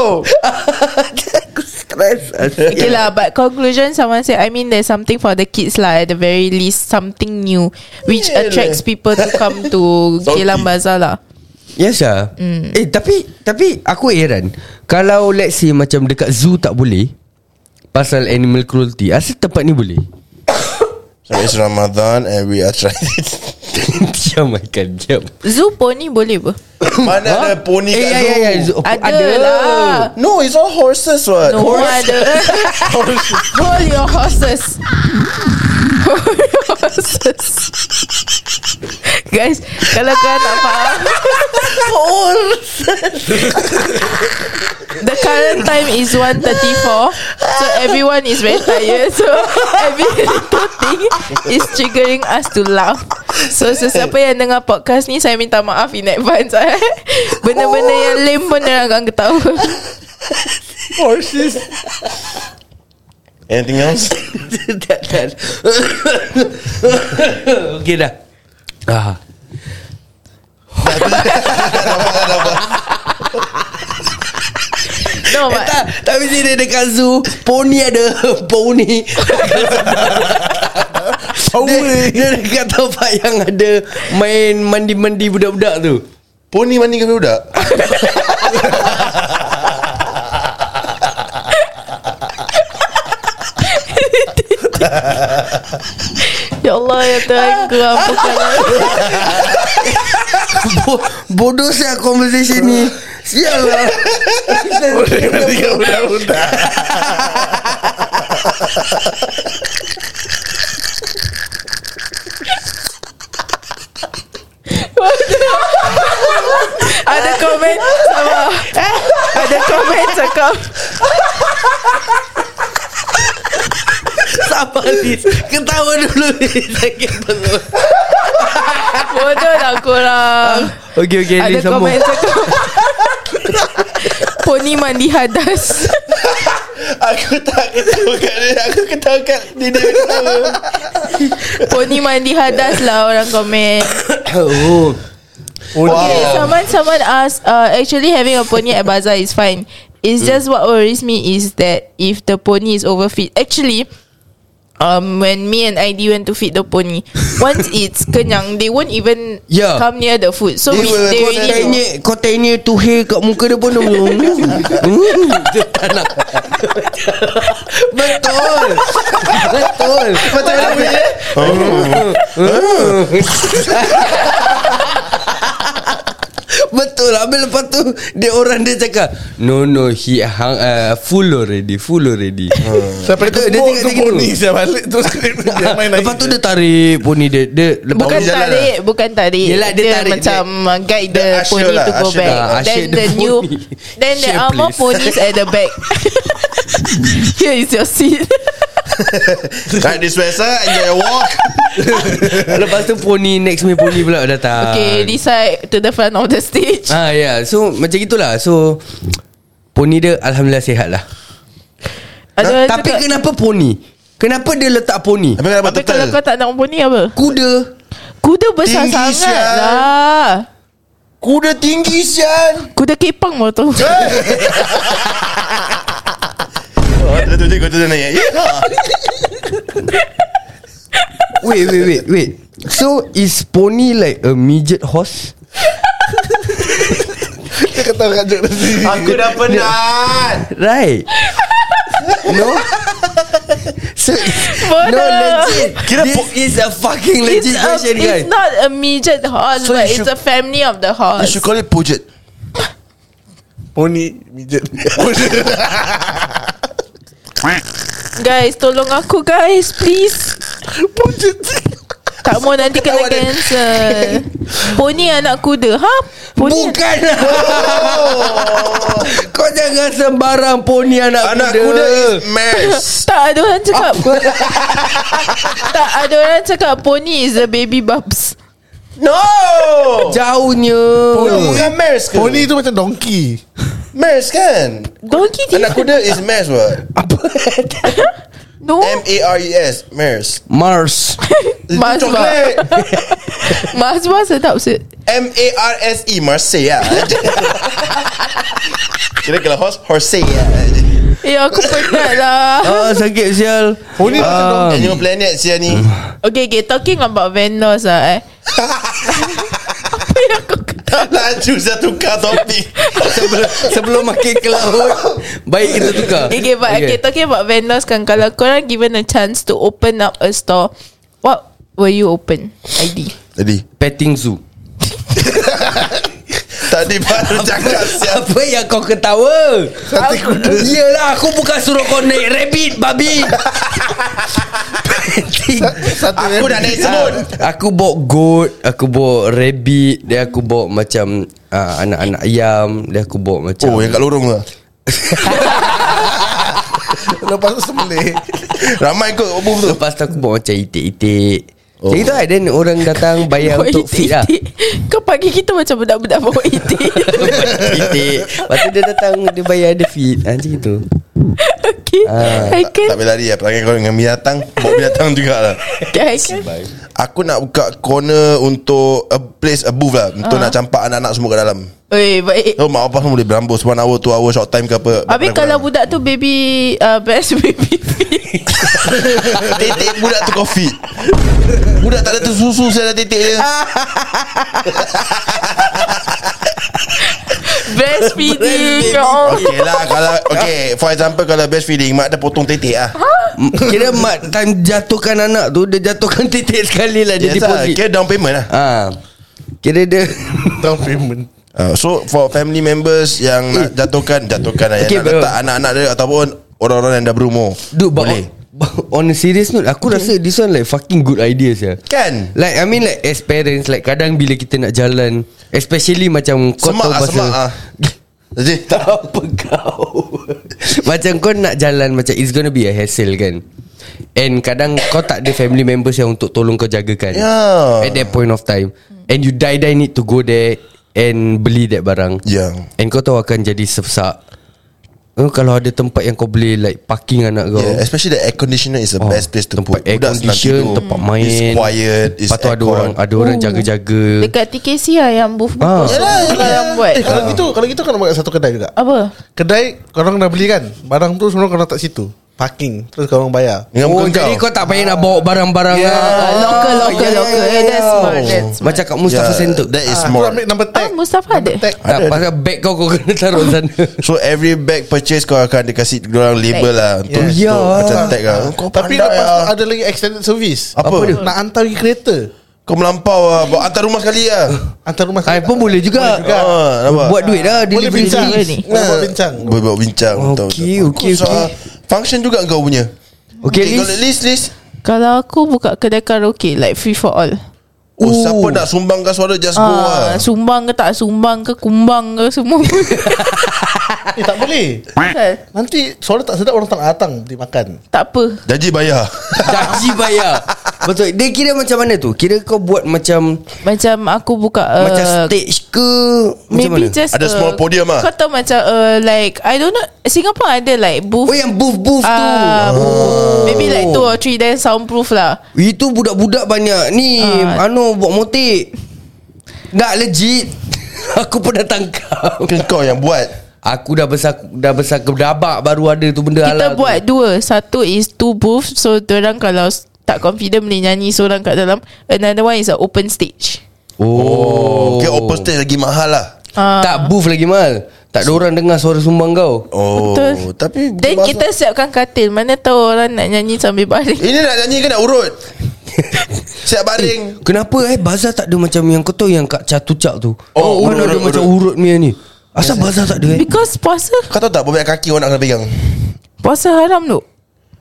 Speaker 3: Aku stress
Speaker 4: Okay lah But conclusion Someone said I mean there's something For the kids lah At the very least Something new Which
Speaker 2: Yeah lah.
Speaker 4: attracts people To come to
Speaker 2: Salty.
Speaker 4: Geylang Bazaar lah
Speaker 3: Yes lah
Speaker 4: Hmm.
Speaker 3: mm. Eh tapi Tapi aku heran Kalau let's say Macam dekat zoo tak boleh Pasal animal cruelty Asal tempat ni boleh
Speaker 2: So it's Ramadan and we are trying
Speaker 3: [laughs] Diam Michael Diam
Speaker 4: Zoo pony boleh apa?
Speaker 2: Mana ada pony
Speaker 3: Eh
Speaker 2: kat
Speaker 3: ya
Speaker 2: zoo?
Speaker 3: ya ya Zoo-
Speaker 4: Ada, lah
Speaker 2: No, it's all horses what?
Speaker 4: No ada Hold your horses Hold your horses Guys Kalau kau tak faham The current time is 1.34 So everyone is very tired So every little thing Is triggering us to laugh So sesiapa yang dengar podcast ni Saya minta maaf in advance eh. Benda-benda yang lame pun Dia akan ketawa
Speaker 2: Anything else?
Speaker 3: [laughs] tak, tak. [laughs] Okey dah. Ah.
Speaker 4: No
Speaker 3: Eh,
Speaker 4: but
Speaker 3: tak, tapi sini dekat zoo Pony ada [laughs] Pony dia, dia dekat tempat yang ada Main mandi-mandi budak-budak tu
Speaker 2: Pony mandi ke budak?
Speaker 4: Ya Allah ya Tuhan lah. ku ampunkanlah.
Speaker 3: Bo- Bodoh saya conversation ni Sial lah
Speaker 2: Mandi
Speaker 3: kan
Speaker 2: ke budak-budak?
Speaker 4: Ada komen sama. Eh, ada komen cakap
Speaker 3: Sabar Liz Ketawa dulu Liz Sakit perut
Speaker 4: bodoh lah korang.
Speaker 3: Okey okey
Speaker 4: Ada
Speaker 3: Liz
Speaker 4: komen
Speaker 3: sambung
Speaker 4: cakap Poni mandi hadas
Speaker 2: Aku tak ketawa kat dia Aku ketawa kat dia Dia ketawa
Speaker 4: Poni mandi hadas lah orang komen
Speaker 3: Oh
Speaker 4: Okay, someone someone asked uh, actually having a pony at bazaar is fine. It's just what worries me is that if the pony is overfed. Actually, um, when me and ID went to feed the pony, once it's kenyang, they won't even
Speaker 3: Yeah.
Speaker 4: come near the food. So
Speaker 2: They
Speaker 4: we,
Speaker 2: will
Speaker 4: they
Speaker 2: go
Speaker 4: really
Speaker 2: there.
Speaker 4: know.
Speaker 3: Tanya Kau tanya tu hair kat muka dia pun dia
Speaker 4: [laughs]
Speaker 3: Hmm, dia tak nak. Betul Betul Betul ada bunyi
Speaker 4: Oh.
Speaker 3: Betul Habis lepas tu Dia orang dia cakap No no He hung, uh, Full already Full already
Speaker 6: Sampai
Speaker 3: Betul, dia
Speaker 6: tu dia
Speaker 3: tengok-
Speaker 6: tengok
Speaker 3: tengok
Speaker 6: ni Saya balik Terus dia main lagi
Speaker 3: Lepas tu dia tarik Poni dia, dia lepas
Speaker 4: Bukan
Speaker 2: Pony jalan
Speaker 4: tarik Bukan tarik
Speaker 3: Yelah, dia tarik,
Speaker 4: macam uh, Guide
Speaker 2: dia
Speaker 4: the,
Speaker 2: usher
Speaker 4: pony
Speaker 2: lah,
Speaker 4: to go
Speaker 2: usher
Speaker 4: back
Speaker 3: lah, usher
Speaker 4: Then
Speaker 3: the
Speaker 4: the, new
Speaker 3: pony.
Speaker 4: Then there
Speaker 3: Usher,
Speaker 4: are more
Speaker 3: please.
Speaker 4: ponies at the back [laughs] Here is your seat
Speaker 2: Right this way sir Enjoy your walk
Speaker 3: Lepas tu poni Next punya poni pula datang
Speaker 4: Okay this side To the front of the stage
Speaker 3: Ah ya, yeah. so macam itulah. So poni dia alhamdulillah sihat lah.
Speaker 4: Ada orang
Speaker 3: tapi
Speaker 4: cakap,
Speaker 3: kenapa poni? Kenapa dia letak poni?
Speaker 2: Habis kena
Speaker 4: Tapi kalau
Speaker 2: betul
Speaker 4: kau tak nak poni apa
Speaker 3: Kuda.
Speaker 4: Kuda besar
Speaker 2: Tinggi,
Speaker 4: sangat
Speaker 2: sial.
Speaker 4: lah
Speaker 2: Kuda tinggi sian
Speaker 4: Kuda kepang lah tu
Speaker 2: Eh, Kuda tu je kuda tu naik Yeehaw.
Speaker 3: Wait, wait, wait, wait. So is poni like a midget horse?
Speaker 6: Dia ketawa kat jok tadi
Speaker 2: Aku dah penat
Speaker 3: Right. No. So
Speaker 4: [laughs] Bodoh.
Speaker 3: no legit.
Speaker 2: Kira
Speaker 3: This
Speaker 2: po-
Speaker 3: is a fucking
Speaker 4: Oh, It's,
Speaker 3: legit
Speaker 4: a,
Speaker 3: question, guys.
Speaker 4: it's not a midget horse
Speaker 2: So
Speaker 4: But
Speaker 2: you
Speaker 4: it's
Speaker 2: should-
Speaker 4: a family of the
Speaker 2: You
Speaker 4: horse
Speaker 2: should call it pujet
Speaker 6: Pony Mijat
Speaker 4: Guys tolong aku guys Please
Speaker 6: Pujat
Speaker 4: Tak mau nanti kena
Speaker 3: Kawan dia.
Speaker 2: [laughs]
Speaker 4: cancel Pony anak kuda Ha? Pony
Speaker 3: Bukan lah.
Speaker 2: Oh.
Speaker 3: [laughs] Kau jangan sembarang poni anak,
Speaker 2: [laughs] Anak
Speaker 3: kuda.
Speaker 2: kuda is mess
Speaker 4: Tak ada orang cakap [laughs] Tak ada orang cakap Pony is a baby bubs
Speaker 2: No
Speaker 3: Jauhnya
Speaker 2: Pony bukan mess ke
Speaker 6: Pony tu macam donkey [laughs]
Speaker 2: Mess kan
Speaker 4: Donkey dia
Speaker 2: Anak kuda is mess what
Speaker 4: No
Speaker 2: M-A-R-E-S Mers [laughs]
Speaker 3: Mars
Speaker 4: Mars bar
Speaker 2: Coklat
Speaker 4: Mars bar sedap se
Speaker 2: M-A-R-S-E E, [laughs] Marseille ah. Kira kalau horse ah. Horse
Speaker 4: Eh aku penat lah
Speaker 3: Ah sakit Ah, sial
Speaker 6: Pony macam donkey
Speaker 2: Animal Planet siya [laughs] ni
Speaker 4: Okay okay Talking about vendors lah eh [laughs] Apa yang aku kata
Speaker 2: Laju saya tukar topik
Speaker 3: sebelum, sebelum makin ke laut Baik kita tukar
Speaker 4: Okay, okay but okay. okay Talking about vendors kan Kalau korang given a chance To open up a store What were you open? ID.
Speaker 2: Tadi
Speaker 3: Petting zoo
Speaker 2: Tadi baru cakap siapa
Speaker 3: Apa yang kau ketawa
Speaker 2: Sate kuda.
Speaker 3: Yelah aku bukan suruh kau naik rabbit Babi Petting
Speaker 6: Satu
Speaker 2: Aku dah naik semut
Speaker 3: Ah, Aku bawa goat Aku bawa rabbit Dia aku bawa macam ah, Anak-anak ayam Dia aku bawa macam
Speaker 2: Oh yang kat lorong lah
Speaker 6: [laughs] Lepas tu sembelih
Speaker 2: Ramai kot Obuf tu
Speaker 3: Lepas tu aku bawa macam itik-itik oh.
Speaker 2: Oh.
Speaker 3: Macam itu lah Then orang datang bayar
Speaker 4: [laughs] Bawa
Speaker 3: untuk fit lah
Speaker 4: itik. Kau panggil kita macam budak-budak bawa itik.
Speaker 3: Itik Lepas tu dia datang Dia bayar dia fit ah, Macam itu
Speaker 4: okay.
Speaker 3: Ah,
Speaker 4: Haikal.
Speaker 2: Tak boleh lari lah Perangai kau dengan binatang Bawa binatang juga lah
Speaker 4: Okay, Haikal.
Speaker 2: Aku nak buka corner Untuk a place a booth lah Untuk nak campak anak-anak semua kat dalam
Speaker 4: Oi, baik.
Speaker 2: So mak bapak semua boleh berambus 1 hour 2 hour short time ke apa
Speaker 4: eh, Habis kalau budak tu baby uh, Best baby
Speaker 2: Titik budak tu covid Budak tak ada tu susu Saya dah titik dia
Speaker 4: Best feeding Ya Allah.
Speaker 2: Okay lah kalau Okay for example Kalau breastfeeding Mak dah potong titik lah
Speaker 3: M- Kira mat time jatuhkan anak tu Dia jatuhkan [laughs] titik sekali lah Dia
Speaker 2: Yes lah
Speaker 3: deposit
Speaker 2: Kira down payment lah
Speaker 3: ah. Kira dia
Speaker 6: Down payment
Speaker 2: Uh, so for family members yang nak jatuhkan jatuhkan lah, yang
Speaker 3: Eh. Okay,
Speaker 2: nak
Speaker 3: bro.
Speaker 2: letak anak-anak dia ataupun orang-orang yang dah berumur.
Speaker 3: Dude but
Speaker 2: Boleh.
Speaker 3: [laughs] On, on a serious note Aku rasa this one like Fucking good idea sia
Speaker 2: Kan?
Speaker 3: Like I mean like As parents Like kadang bila kita nak jalan Especially macam Kau
Speaker 2: Semak
Speaker 3: tahu
Speaker 2: ah,
Speaker 3: pasal
Speaker 2: semak
Speaker 3: [laughs]
Speaker 2: ah. Jadi tak
Speaker 3: Apa kau [laughs] Macam kau nak jalan Macam it's gonna be a hassle kan And kadang kau tak ada family members Yang untuk tolong kau jagakan
Speaker 2: Yeah.
Speaker 3: At that point of time And you die-die need to go there And beli that barang
Speaker 2: Yeah.
Speaker 3: And kau tahu akan jadi sesak Oh, kalau ada tempat yang kau boleh like parking anak kau.
Speaker 2: Yeah, especially the air conditioner is the oh,
Speaker 3: Oh,
Speaker 2: best place to put.
Speaker 3: tempat air
Speaker 2: Budak senang
Speaker 3: condition,
Speaker 2: tidur.
Speaker 3: tempat main.
Speaker 2: It's quiet, it's
Speaker 3: Lepas tu ada
Speaker 2: aircon.
Speaker 3: orang ada orang jaga-jaga.
Speaker 4: Dekat TKC lah yang booth
Speaker 3: Ah.
Speaker 4: booth Yang buat
Speaker 6: Eh kalau gitu Kalau gitu kau nak buat kat satu kedai juga
Speaker 4: Apa?
Speaker 6: Kedai Korang dah beli kan Barang tu sebenarnya korang letak situ Parking Terus korang bayar
Speaker 2: Dengan
Speaker 3: oh,
Speaker 2: muka Ya.
Speaker 3: jadi kau tak payah nak bawa barang-barang
Speaker 2: Yeah.
Speaker 3: lah.
Speaker 4: Ah, local, local,
Speaker 3: yeah,
Speaker 4: local.
Speaker 3: yeah,
Speaker 4: Eh, that's
Speaker 3: yeah.
Speaker 4: smart, that's smart.
Speaker 3: Macam kat Mustafa
Speaker 2: Yeah,
Speaker 3: Center.
Speaker 2: That is
Speaker 6: Ah,
Speaker 2: more.
Speaker 6: Korang ambil number tag
Speaker 4: Ah, Mustafa ada?
Speaker 6: Number tag
Speaker 3: Tak, pasal bag kau kau kena taruh sana.
Speaker 2: [laughs] So every bag purchase kau akan dikasih orang label lah untuk, untuk
Speaker 3: Yeah. Oh, Yeah.
Speaker 2: macam tag lah. Kau
Speaker 6: Tapi
Speaker 2: pandai
Speaker 6: lepas tu
Speaker 2: lah.
Speaker 6: ada lagi extended service
Speaker 2: Apa? Apa dia?
Speaker 6: Nak hantar pergi kereta
Speaker 2: Kau melampau lah. Bawa Hantar rumah sekali lah.
Speaker 6: Hantar rumah
Speaker 3: [laughs] Ah, pun boleh juga.
Speaker 2: juga. Ah, nampak?
Speaker 3: Buat duit lah
Speaker 6: Boleh
Speaker 3: delivery
Speaker 6: bincang
Speaker 4: service ni.
Speaker 6: [laughs] Boleh buat bincang
Speaker 2: Boleh bawa bincang. betul,
Speaker 3: Okay,
Speaker 2: betul.
Speaker 3: okay,
Speaker 2: So,
Speaker 3: okay.
Speaker 2: ah, Function juga kau punya. Okay,
Speaker 3: Okay,
Speaker 2: kalau [laughs] list
Speaker 3: Liz.
Speaker 2: list.
Speaker 4: Kalau aku buka kedai karaoke Like free for all
Speaker 2: Oh,
Speaker 3: Ooh.
Speaker 2: siapa nak sumbangkan suara just go
Speaker 4: ah,
Speaker 2: lah.
Speaker 4: Sumbang ke tak sumbang ke Kumbang ke semua
Speaker 6: Eh tak boleh Nanti Soalnya tak sedap orang tak nak datang Beli makan
Speaker 4: Tak apa
Speaker 2: Gaji bayar. [laughs]
Speaker 3: Gaji bayar. Betul. Dia kira macam mana tu? Kira kau buat macam
Speaker 4: Macam aku buka uh,
Speaker 3: macam stage ke macam
Speaker 4: Maybe
Speaker 3: mana?
Speaker 4: just
Speaker 2: Ada
Speaker 4: uh,
Speaker 2: small podium ah.
Speaker 4: Kau tahu macam uh, Like I don't know Singapore ada like
Speaker 3: Oh
Speaker 4: booth
Speaker 3: yang booth booth tu. Oh,
Speaker 4: Ah, booth. Maybe like two or three Then soundproof lah
Speaker 3: Itu budak-budak banyak ni
Speaker 4: Ah.
Speaker 3: Anu buat motik Tak legit [laughs] Aku pernah tangkap
Speaker 2: Kan kau yang buat.
Speaker 3: Aku dah besar Dah besar kedabak Baru ada tu benda
Speaker 4: Kita
Speaker 3: halal
Speaker 4: buat
Speaker 3: tu.
Speaker 4: dua Satu is two booth So orang kalau s- Tak confident boleh nyanyi Seorang kat dalam Another one is a open stage
Speaker 3: Oh,
Speaker 2: Okay, open stage lagi mahal lah.
Speaker 4: Ah,
Speaker 3: Tak booth lagi mal Tak ada orang dengar suara sumbang kau
Speaker 2: Oh,
Speaker 4: Betul.
Speaker 2: tapi
Speaker 4: Then
Speaker 2: maksud-
Speaker 3: lah.
Speaker 4: kita siapkan katil Mana tahu orang nak nyanyi
Speaker 3: [laughs]
Speaker 4: sambil
Speaker 3: Eh.
Speaker 4: baring
Speaker 2: ini nak nyanyi ke nak urut? Siap baring.
Speaker 3: Kenapa eh Bazar tak ada macam yang kau tahu Yang kat catucak tu
Speaker 2: Oh, urut,
Speaker 3: Mana ada
Speaker 2: urut,
Speaker 3: macam
Speaker 2: urut.
Speaker 3: urut punya ni Asal bazar tak ada eh
Speaker 4: Because puasa
Speaker 2: Kau tahu tak berapa banyak kaki orang nak kena pegang?
Speaker 4: Puasa haram tu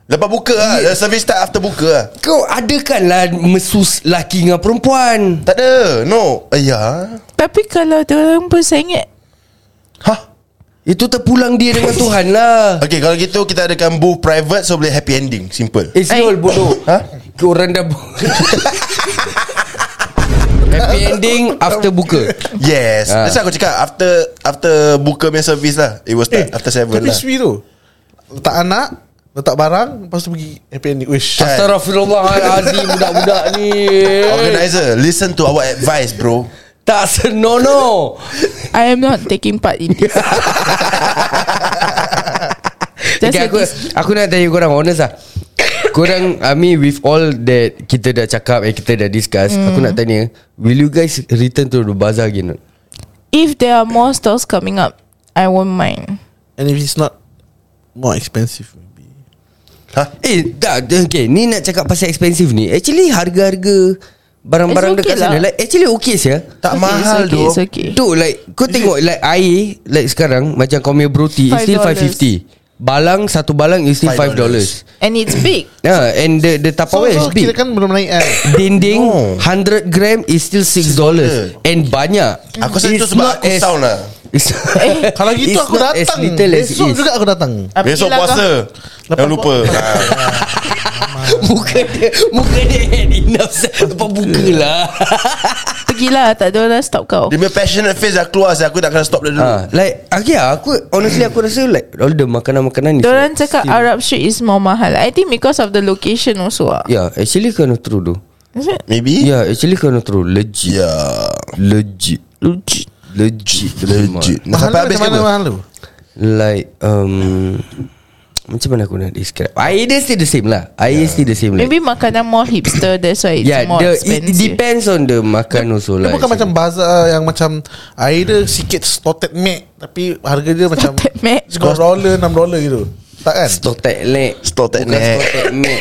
Speaker 2: Lepas buka lah. Yeah. Service start after buka lah.
Speaker 3: Kau adakan lah Mesus laki dengan perempuan
Speaker 2: Tak ada. No. Ayah.
Speaker 4: Tapi kalau orang pun sengit
Speaker 2: Hah?
Speaker 3: Itu terpulang dia
Speaker 2: [laughs]
Speaker 3: [laughs] dengan Tuhan lah
Speaker 2: Okay, kalau gitu kita adakan booth private so boleh happy ending. Simple.
Speaker 3: Eh Syul [laughs] bodoh
Speaker 2: Ha?
Speaker 3: Korang dah bu- [laughs] Happy ending After buka
Speaker 2: Yes.
Speaker 3: Ah.
Speaker 2: That's why aku cakap after after buka punya service lah. It was start after seven
Speaker 6: Eh, Tapi
Speaker 2: lah.
Speaker 6: sui tu Letak anak Letak barang Lepas tu pergi Happy ending Wish
Speaker 2: Kan?
Speaker 3: Astaghfirullahalazim Budak-budak ni
Speaker 2: Organizer, listen to our advice, bro.
Speaker 3: Tak senonoh
Speaker 4: I am not taking part in
Speaker 3: [laughs]
Speaker 4: this Just
Speaker 3: okay,
Speaker 4: okay,
Speaker 3: aku, aku nak tanya korang Honest lah Korang I mean with all that Kita dah cakap And kita dah discuss mm.
Speaker 4: Hmm.
Speaker 3: Aku nak tanya Will you guys return to the bazaar again or not?
Speaker 4: If there are more stores coming up I won't mind
Speaker 6: And if it's not More expensive maybe
Speaker 2: Ha?
Speaker 3: Eh tak Okay ni nak cakap pasal expensive ni Actually harga-harga Barang-barang
Speaker 4: It's okay
Speaker 3: dekat sana
Speaker 4: lah.
Speaker 3: like, Actually okay sia
Speaker 2: Tak
Speaker 4: Okay,
Speaker 2: mahal
Speaker 4: it's okay,
Speaker 2: doh.
Speaker 4: It's okay
Speaker 3: Tu like Kau tengok like air Like sekarang Macam kau punya broti It's still
Speaker 4: $5.
Speaker 3: 550 Balang Satu balang Is still $5
Speaker 2: $5.
Speaker 4: And it's
Speaker 3: [laughs]
Speaker 4: big
Speaker 3: Yeah, and the the
Speaker 6: So,
Speaker 3: Tupperware
Speaker 6: so
Speaker 3: is big.
Speaker 6: kira kan belum naik eh.
Speaker 3: Dinding
Speaker 2: No.
Speaker 3: 100 gram is still $6 And banyak
Speaker 2: Aku rasa
Speaker 3: It's
Speaker 2: itu sebab
Speaker 3: not
Speaker 2: aku
Speaker 3: as-
Speaker 2: sound lah
Speaker 3: It's-
Speaker 6: Kalau gitu
Speaker 3: it's
Speaker 6: aku
Speaker 3: not as
Speaker 6: datang.
Speaker 3: little as it
Speaker 6: Besok
Speaker 3: is.
Speaker 6: juga [laughs] aku datang.
Speaker 4: Ah,
Speaker 2: Besok
Speaker 4: pergilah
Speaker 6: lah
Speaker 4: kau.
Speaker 2: puasa Jangan lupa Ha.
Speaker 3: Muka dia Muka dia had enough Lepas buka [laughs] lah
Speaker 4: Pergilah Tak ada orang stop kau
Speaker 2: Dia punya passionate face dah keluar saya Aku tak kena stop dia dulu
Speaker 4: Ah.
Speaker 3: ha, Like Okay lah aku Honestly aku rasa like All the makanan-makanan is
Speaker 4: Diorang
Speaker 3: like
Speaker 4: cakap
Speaker 3: still-
Speaker 4: Arab Street is more mahal I think because of the location also ah.
Speaker 3: Yeah actually kind of true though
Speaker 4: Is it?
Speaker 2: Maybe
Speaker 3: Yeah actually kind of true Legit
Speaker 2: Yeah
Speaker 3: Legit Legit Legit
Speaker 2: Legit Nak
Speaker 6: Mahal
Speaker 2: sampai
Speaker 6: lu
Speaker 2: habis
Speaker 6: macam
Speaker 2: ke
Speaker 6: mana
Speaker 2: apa?
Speaker 6: mahal lu?
Speaker 3: Like um, Macam mana aku nak describe Air dia still the same lah Air
Speaker 2: Ya.
Speaker 3: yeah. still the same like.
Speaker 4: Maybe makanan more hipster That's why it's
Speaker 3: Yeah,
Speaker 4: more
Speaker 3: the, it
Speaker 4: expensive
Speaker 3: depends on the makan also
Speaker 6: Dia
Speaker 3: lah.
Speaker 6: bukan macam bazar yang macam air dia sikit slotted mac tapi harga dia macam
Speaker 4: Slotted mac.
Speaker 6: $10 $6 gitu. Tak kan?
Speaker 3: stotek lek.
Speaker 2: Stotek
Speaker 3: Bukan
Speaker 2: nek.
Speaker 3: Stotek
Speaker 6: [laughs]
Speaker 3: nek.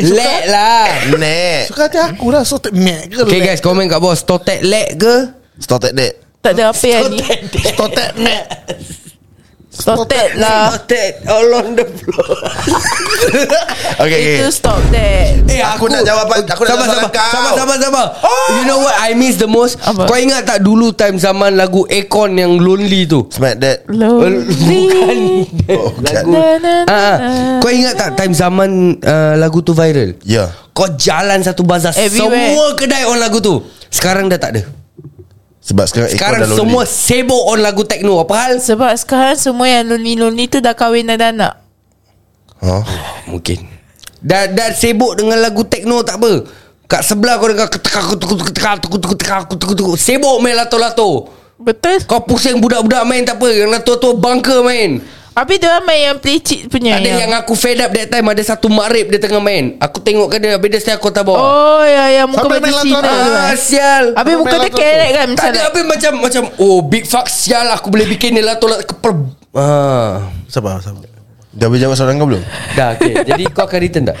Speaker 3: Lek lah.
Speaker 2: Nek
Speaker 6: Suka hati aku lah Slotted mac ke
Speaker 3: Okay guys, komen kat bawah stotek lek ke?
Speaker 2: Stop at that
Speaker 4: Tak ada apa yang ni
Speaker 6: Slotted mac
Speaker 4: Stotet lah
Speaker 3: Stotek all on the floor.
Speaker 2: Okay, okay.
Speaker 4: Itu stop that
Speaker 3: Eh,
Speaker 2: Aku nak jawapan- aku nak
Speaker 3: sabar,
Speaker 2: jawapan
Speaker 3: sabar,
Speaker 2: kau.
Speaker 3: sabar, sabar, sabar.
Speaker 6: Oh!
Speaker 3: You know what I miss the most?
Speaker 4: Apa?
Speaker 3: Kau ingat tak dulu time zaman lagu Akon yang Lonely tu?
Speaker 2: Smack that
Speaker 3: [laughs]
Speaker 4: Lonely
Speaker 2: Oh,
Speaker 3: Lagu
Speaker 2: God.
Speaker 4: Na, na,
Speaker 3: Ah,
Speaker 4: na,
Speaker 3: ah.
Speaker 4: na.
Speaker 3: Kau ingat tak time zaman uh, lagu tu viral?
Speaker 2: Yeah
Speaker 3: Kau jalan satu bazar
Speaker 4: Everywhere.
Speaker 3: Semua kedai on lagu tu Sekarang dah tak ada
Speaker 2: Sebab sekarang Eko
Speaker 3: Sekarang
Speaker 2: dah lonely.
Speaker 3: semua sibuk on lagu techno Apa hal?
Speaker 4: [laughs] Sebab sekarang semua yang lonely-lonely tu Dah kahwin dan anak
Speaker 2: Huh?
Speaker 3: Ah, Mungkin Dah, dah sibuk dengan lagu techno tak apa Kat sebelah kau dengar ketekak ketekak ketekak ketekak ketekak ketekak ketekak Sibuk main lato-lato
Speaker 4: Betul
Speaker 3: Kau pusing budak-budak main tak apa Yang lato-lato bangka main
Speaker 4: Habis diorang main yang pelicit punya
Speaker 3: Ada yang aku fed up that time Ada satu makrib dia tengah main Aku tengok ke dia Habis dia stay kota bawah
Speaker 4: Oh ya ya Muka
Speaker 6: Sampai
Speaker 4: macam
Speaker 6: main
Speaker 4: Cina
Speaker 6: lantaran.
Speaker 4: tu
Speaker 3: Ah,
Speaker 4: kan.
Speaker 3: sial
Speaker 4: Habis muka dia
Speaker 6: Sampai lantaran tu.
Speaker 4: kerek kan Macam
Speaker 3: Tak ada
Speaker 4: like-
Speaker 3: habis macam macam oh big fuck sial lah, aku boleh bikin dia lah tolak ke per ah.
Speaker 6: Sabar sabar
Speaker 2: Dah boleh jawab soalan kau belum?
Speaker 3: Dah okay. Jadi kau akan return tak?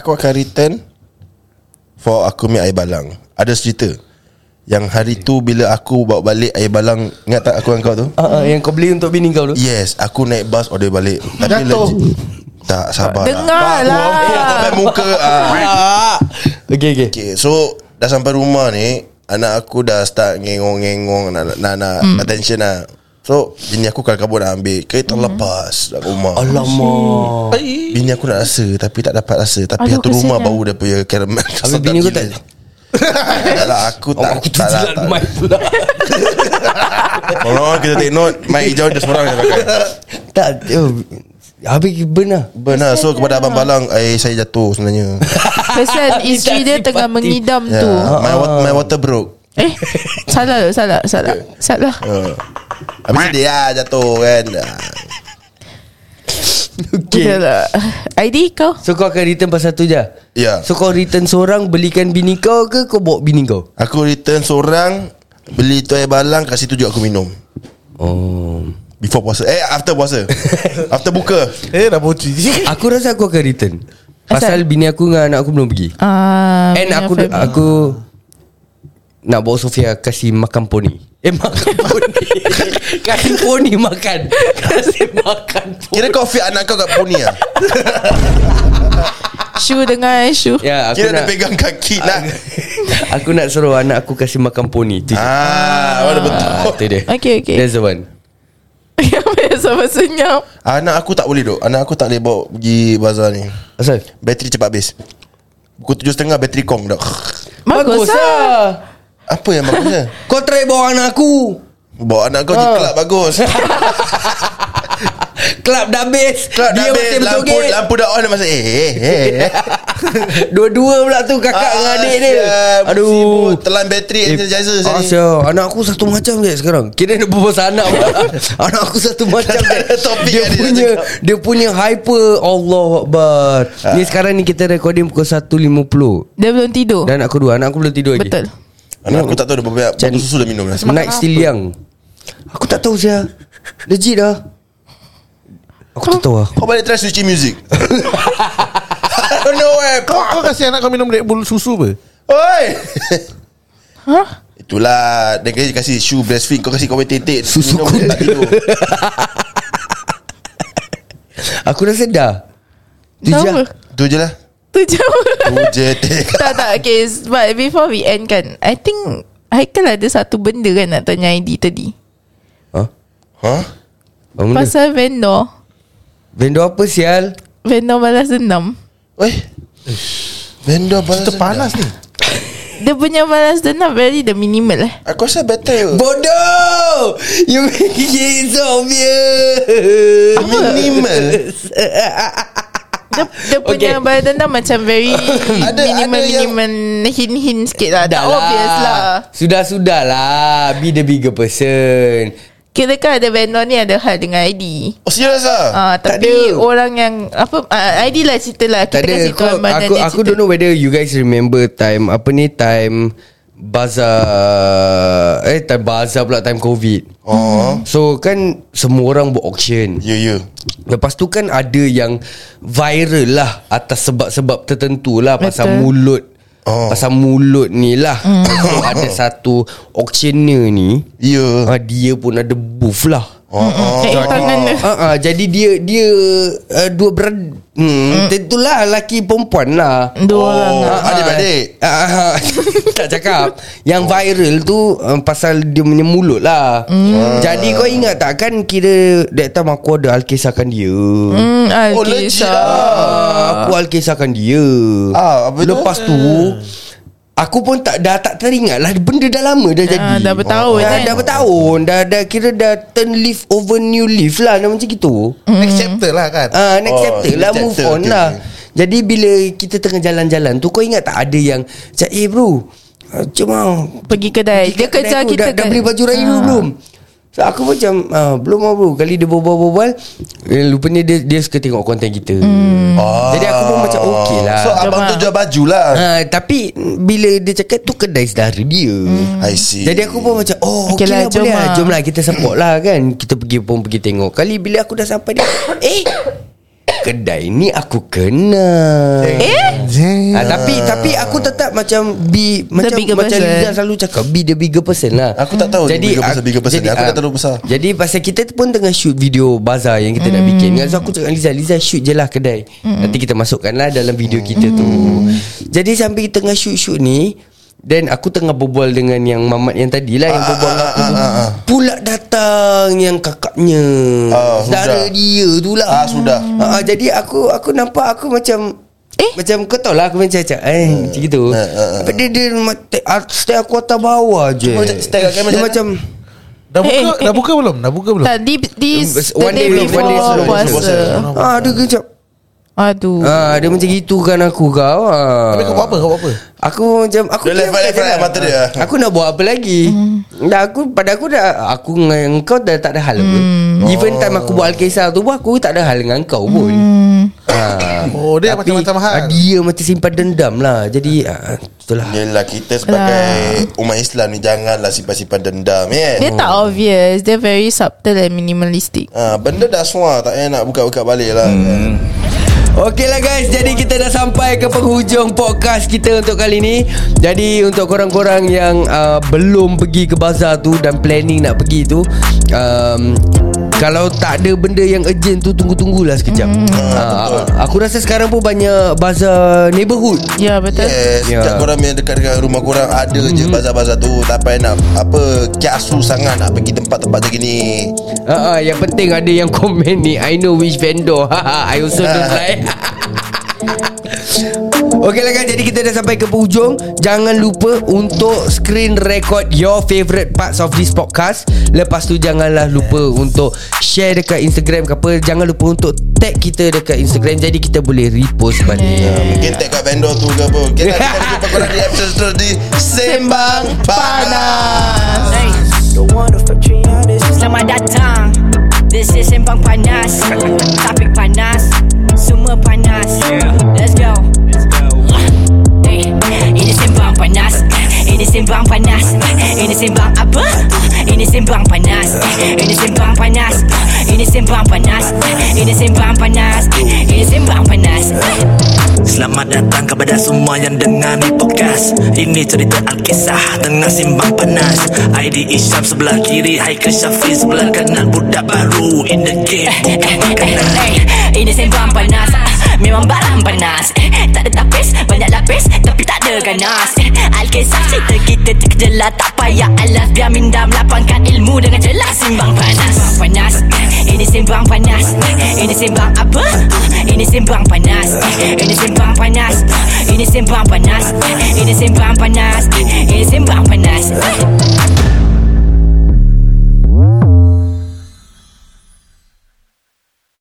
Speaker 2: Aku akan return For aku ambil air balang Ada cerita Yang hari tu Bila aku bawa balik air balang Ingat tak aku dengan kau tu?
Speaker 3: Ah, ah, yang kau beli untuk bini kau tu.
Speaker 2: Yes Aku naik bas order balik Tapi
Speaker 6: Jatuh.
Speaker 2: legit- Tak sabar
Speaker 4: Dengar lah.
Speaker 2: Sampai muka ah.
Speaker 3: Ah. Okay okay.
Speaker 2: Okay so Dah sampai rumah ni Anak aku dah start Ngengong-ngengong Nak nak, nak attention lah So Bini aku kalau kabur nak ambil Kereta lepas Dah rumah
Speaker 3: Alamak.
Speaker 2: Bini aku nak rasa Tapi tak dapat rasa Tapi
Speaker 4: Aduh,
Speaker 2: satu rumah
Speaker 4: kesiannya.
Speaker 2: Bau dia punya caramel
Speaker 3: Habis bini kau tak
Speaker 2: Tak lah aku
Speaker 3: Oh,
Speaker 2: tak
Speaker 3: aku
Speaker 2: tak lah,
Speaker 3: terjilat
Speaker 2: tak lah.
Speaker 3: mic pula.
Speaker 2: Orang kita take note Mic hijau dia seorang yang pakai
Speaker 3: [laughs] Tak eh, Habis benar.
Speaker 2: Benar lah. so kepada Abang Balang eh, Saya jatuh sebenarnya
Speaker 3: [laughs]
Speaker 4: Pasal isteri dia
Speaker 3: Minta
Speaker 4: tengah
Speaker 3: simpati.
Speaker 4: mengidam
Speaker 2: Ya,
Speaker 4: tu
Speaker 2: my, wa- my water broke
Speaker 4: Eh Salah salah Salah Salah
Speaker 2: uh, Habis dia lah jatuh kan
Speaker 4: Okay
Speaker 3: Okay.
Speaker 4: lah ID kau
Speaker 3: So kau akan return pasal tu je?
Speaker 2: Ya.
Speaker 3: So kau return seorang Belikan bini kau ke Kau bawa bini kau?
Speaker 2: Aku return seorang Beli tu air balang Kat situ juga aku minum
Speaker 3: Oh
Speaker 2: Before puasa Eh after
Speaker 3: [laughs]
Speaker 2: puasa After buka
Speaker 6: Eh dah boci [laughs]
Speaker 3: Aku rasa aku akan return
Speaker 4: Asal?
Speaker 3: Pasal bini aku dengan anak aku belum pergi
Speaker 4: Ah,
Speaker 3: And
Speaker 4: punya
Speaker 3: aku
Speaker 4: family.
Speaker 3: aku nak bawa Sofia kasih makan poni. Eh [laughs] makan poni. kasih poni makan. Kasih makan poni.
Speaker 2: Kira kau fit anak kau kat poni lah
Speaker 4: Shu dengan Shu
Speaker 3: Ya, aku
Speaker 2: Kira
Speaker 3: nak
Speaker 2: dia pegang kaki nak
Speaker 3: [laughs] aku nak suruh anak aku kasih makan poni. Tu je.
Speaker 2: Ah Mana
Speaker 3: Ah,
Speaker 2: betul
Speaker 3: tu dia.
Speaker 4: Okay, okay.
Speaker 3: That's the one.
Speaker 4: [laughs] Yang sama senyap
Speaker 2: Ah, Anak aku tak boleh duk Anak aku tak boleh bawa Pergi bazar ni
Speaker 3: Asal?
Speaker 2: Bateri cepat habis Pukul tujuh setengah Bateri kong dah
Speaker 4: Bagus lah
Speaker 2: Apa yang
Speaker 3: [laughs]
Speaker 2: bagusnya
Speaker 3: ah. Kau try bawa anak aku.
Speaker 2: Bawa anak kau pergi
Speaker 3: Ah.
Speaker 2: kelab
Speaker 3: [laughs]
Speaker 2: bagus
Speaker 3: Kelab dah habis.
Speaker 2: Kelab dah
Speaker 3: Dia
Speaker 2: habis
Speaker 3: masih
Speaker 2: Lampu,
Speaker 3: berjoget.
Speaker 2: lampu dah on dia Masa eh eh eh
Speaker 3: [laughs] Dua-dua pula tu kakak
Speaker 2: Ah,
Speaker 3: dengan adik dia.
Speaker 2: sial,
Speaker 3: Aduh.
Speaker 2: sibuk Telan bateri energizer
Speaker 3: Ah,
Speaker 2: saya ni
Speaker 3: sial. Anak aku satu macam je sekarang Kira dia berbual pasal anak [laughs] pula. Anak aku satu macam je
Speaker 2: Topik
Speaker 3: Dia
Speaker 2: yang dia
Speaker 3: punya
Speaker 2: cakap.
Speaker 3: Dia punya hyper Allah Akbar Ni sekarang ni kita recording pukul 1.50
Speaker 4: Dia belum tidur
Speaker 3: Dan aku dua Anak aku belum tidur lagi
Speaker 4: Betul
Speaker 2: Anak aku tak tahu dia berapa
Speaker 3: Macam-
Speaker 2: Berapa susu dia minum lah
Speaker 3: Night still young Aku tak tahu sial Legit lah Aku tak tahu lah
Speaker 2: Kau balik try switching
Speaker 3: [laughs]
Speaker 2: music I don't know eh
Speaker 6: Kau, kau kasih anak kau minum Red Bull susu apa?
Speaker 2: Oi
Speaker 4: Huh?
Speaker 2: Itulah Dia kasi, kasi shoe breastfeed Kau kasi kau punya tetek
Speaker 3: Susu
Speaker 2: Minum dia tak tidur.
Speaker 3: Aku rasa dah Tu
Speaker 4: Dah
Speaker 3: je.
Speaker 4: apa?
Speaker 2: Tu je lah
Speaker 4: Tu je apa?
Speaker 2: Tu je [laughs] tek.
Speaker 4: [laughs] tak tak okay s- But before we end kan I think Haikal ada satu benda kan Nak tanya ID tadi
Speaker 3: Ha?
Speaker 2: Ha?
Speaker 3: Apa benda?
Speaker 4: Pasal vendor
Speaker 3: Vendor apa sial?
Speaker 4: Vendor balas dendam
Speaker 2: Weh Vendor balas
Speaker 6: Kita panas
Speaker 4: Hmm.
Speaker 6: ni
Speaker 4: Dia punya balas dendam Very the minimal eh
Speaker 2: Aku rasa better
Speaker 3: Bodoh! You make it so obvious!
Speaker 2: Minimal
Speaker 4: Dia, dia
Speaker 3: Okay.
Speaker 4: punya balas dendam Macam
Speaker 3: [laughs]
Speaker 4: very
Speaker 2: Ada- ada
Speaker 4: Minimal
Speaker 2: yang-
Speaker 4: minimal Hint-hint sikit lah Tak obvious lah
Speaker 3: Sudah-sudah lah Be the bigger person
Speaker 4: Kira kan ada vendor ni Ada hal dengan ID
Speaker 2: Oh serius lah
Speaker 4: Ah,
Speaker 3: Tak
Speaker 4: tapi
Speaker 3: ada.
Speaker 4: orang yang apa ah, ID lah cerita lah kita
Speaker 3: Tak ada
Speaker 4: kasi
Speaker 3: kau,
Speaker 4: tuan badan
Speaker 3: Aku
Speaker 4: dia
Speaker 3: aku
Speaker 4: cerita.
Speaker 3: don't know whether you guys remember time Apa ni time Bazaar Eh time bazaar pula time covid
Speaker 2: Oh Ya,
Speaker 3: So kan Semua orang buat auction
Speaker 2: You you
Speaker 3: Lepas tu kan ada yang viral lah atas sebab-sebab tertentu lah pasal
Speaker 4: Betul.
Speaker 3: mulut.
Speaker 2: Oh.
Speaker 3: Oh. Pasal mulut ni lah. [coughs] So ada satu auctioneer ni,
Speaker 2: You
Speaker 3: uh, dia pun ada booth lah.
Speaker 2: Oh, oh.
Speaker 4: Eh, tangan dia.
Speaker 3: Uh, uh, jadi dia dia uh, dua berad hmm, tentulah lelaki perempuan lah.
Speaker 4: Dua orang
Speaker 2: Oh,
Speaker 4: lah.
Speaker 2: adik-adik
Speaker 3: Ah, [laughs] tak cakap Yang viral tu um, Pasal dia punya mulut lah
Speaker 4: Hmm.
Speaker 3: mm. Jadi kau ingat tak kan Kira That time aku ada Alkisahkan dia mm.
Speaker 4: Hmm, ah,
Speaker 2: Oh
Speaker 4: okay,
Speaker 2: legit
Speaker 4: so-
Speaker 2: lah
Speaker 3: Aku alkisahkan dia
Speaker 2: Ah, apa tu?
Speaker 3: Lepas tu Aku pun tak dah tak teringat lah Benda dah lama dah jadi
Speaker 4: Ah, dah bertahun
Speaker 3: Dah,
Speaker 4: kan?
Speaker 3: dah bertahun Dah, dah kira dah Turn leaf over new leaf lah dah Macam gitu
Speaker 6: Next chapter lah kan
Speaker 3: Ah,
Speaker 2: Oh,
Speaker 3: next chapter
Speaker 2: next
Speaker 3: lah
Speaker 2: chapter,
Speaker 3: Move on
Speaker 2: okay,
Speaker 3: lah
Speaker 2: okay.
Speaker 3: Jadi bila kita tengah jalan-jalan tu Kau ingat tak ada yang Macam eh bro ah, Cuma
Speaker 4: Pergi kedai Dia kejar
Speaker 3: aku,
Speaker 4: kita Ah.
Speaker 3: dah, dah beli baju raya ha. belum So aku macam ah, Belum lah bro Kali dia berbual-bual eh, Lupanya dia, dia suka tengok konten kita
Speaker 4: Hmm.
Speaker 2: Ah.
Speaker 3: Jadi aku pun macam okay lah.
Speaker 2: So abang tu
Speaker 4: Jom, ah.
Speaker 2: jual baju lah
Speaker 3: Ah, tapi bila dia cakap tu kedai saudara dia. Hmm.
Speaker 4: Ah.
Speaker 2: I see
Speaker 3: Jadi aku pun macam Oh okay,
Speaker 4: Okay
Speaker 3: lah,
Speaker 4: lah,
Speaker 3: boleh
Speaker 4: jom
Speaker 3: lah
Speaker 4: lah.
Speaker 3: Jom lah kita support lah kan Kita pergi pun pergi tengok Kali bila aku dah sampai dia [coughs] Eh Kedai ni aku kenal Eh ha, Tapi tapi aku tetap macam Be Macam
Speaker 4: bigger
Speaker 3: macam
Speaker 4: person.
Speaker 3: Liza selalu cakap Be the bigger person lah
Speaker 2: Aku tak tahu
Speaker 3: Jadi
Speaker 2: bigger person,
Speaker 3: aku-
Speaker 2: bigger person. Aku tak
Speaker 3: ah,
Speaker 2: tahu besar.
Speaker 3: Jadi pasal kita pun tengah shoot video Bazaar yang kita nak bikin So aku cakap dengan Liza Liza shoot je lah kedai Nanti kita masukkan lah dalam video kita tu Jadi sambil tengah shoot-shoot ni Then aku tengah berbual dengan yang mamat yang tadi
Speaker 2: Ah,
Speaker 3: lah Yang berbual dengan aku tu Pula datang yang kakaknya
Speaker 2: Ah,
Speaker 3: Saudara
Speaker 2: sudah.
Speaker 3: dia tu lah
Speaker 2: Ah, sudah.
Speaker 3: Ah, ah, Jadi aku aku nampak aku macam
Speaker 4: Eh?
Speaker 3: Macam kau tau lah Aku macam macam Eh macam gitu
Speaker 2: ah, ah, ah.
Speaker 3: Tapi dia, dia mata- ah, Stay aku atas bawah je
Speaker 2: Macam stare kat kamera
Speaker 3: Dia
Speaker 2: macam
Speaker 3: macam
Speaker 6: Dah buka
Speaker 4: Eh, eh,
Speaker 6: dah buka belum? Dah buka belum?
Speaker 4: Tak di, di
Speaker 3: One
Speaker 4: the day
Speaker 3: day belum, one day
Speaker 4: before
Speaker 3: sebelum
Speaker 4: puasa.
Speaker 2: puasa. Uh.
Speaker 3: Ah, dia kecap
Speaker 4: Aduh
Speaker 3: ah, Dia macam gitu kan aku kau ah.
Speaker 6: Tapi kau buat apa? Kau buat apa?
Speaker 3: Aku macam Aku
Speaker 2: Dia
Speaker 3: diam
Speaker 2: left,
Speaker 3: kat
Speaker 2: left, right,
Speaker 3: jalan.
Speaker 2: mata dia.
Speaker 3: Ah, Aku nak buat apa lagi hmm. Dah aku Pada aku dah Aku dengan kau dah tak ada hal hmm. Even time aku buat Alkisah tu pun Aku tak ada hal dengan kau pun hmm. ah.
Speaker 6: Oh, dia
Speaker 3: Tapi,
Speaker 6: macam-macam hal.
Speaker 3: ah, Dia macam simpan dendam lah Jadi ah, Itulah
Speaker 2: Yelah kita sebagai Umat Islam ni Janganlah simpan-simpan dendam ya. yeah?
Speaker 4: Ah. Dia tak obvious Dia very subtle and minimalistic
Speaker 2: Ah, benda dah semua tak payah nak buka-buka balik lah hmm. kan.
Speaker 3: Okey lah guys Jadi kita dah sampai ke penghujung podcast kita untuk kali ni Jadi untuk korang-korang yang uh, belum pergi ke bazar tu Dan planning nak pergi tu um, Kalau tak ada benda yang urgent tu Tunggu-tunggulah sekejap uh, Aku rasa sekarang pun banyak bazar neighborhood
Speaker 4: Ya betul
Speaker 2: Yes,
Speaker 3: Ya.
Speaker 2: yeah. Eh, Setiap korang yang dekat-dekat rumah korang Ada mm-hmm. je bazar-bazar tu Tak payah nak Apa Kiasu sangat nak pergi tempat-tempat begini
Speaker 3: uh, uh, Yang penting ada yang komen ni I know which vendor Ha, I also don't like Okey lah guys Jadi kita dah sampai ke penghujung Jangan lupa Untuk screen record Your favourite parts Of this podcast Lepas tu janganlah lupa Untuk share dekat Instagram ke apa Jangan lupa untuk Tag kita dekat Instagram Jadi kita boleh repost balik
Speaker 2: Mungkin tag kat vendor tu ke apa Kita kita jumpa korang di episode terus di Sembang Panas
Speaker 1: Selamat datang This is Sembang Panas Topik panas Semua panas Let's go Eh, Ini Sembang Panas Ini Sembang Panas Ini Sembang apa? Ini Ini sembang panas Ini sembang panas Ini sembang panas Ini sembang panas Ini sembang panas
Speaker 5: Selamat datang kepada semua yang dengar ni podcast Ini cerita Alkisah tengah simbang panas ID Isyam sebelah kiri Haikal Syafiq sebelah kanan Budak baru in the game
Speaker 1: Eh, eh, eh, eh, Ini sembang panas Ah, Memang barang panas Eh, Tak ada tapis Banyak lapis Tapi tak ada ganas Eh, Alkisah cerita kita terkejelah Tak payah alas Biar minda melapangkan ilmu Dengan jelas Simbang panas Sembang panas Eh, Ini sembang panas Eh, Ini sembang apa? Ah, Ini sembang panas Eh, Ini sembang panas Ah, Ini sembang panas Eh, Ini sembang panas Eh, Ini sembang panas Eh.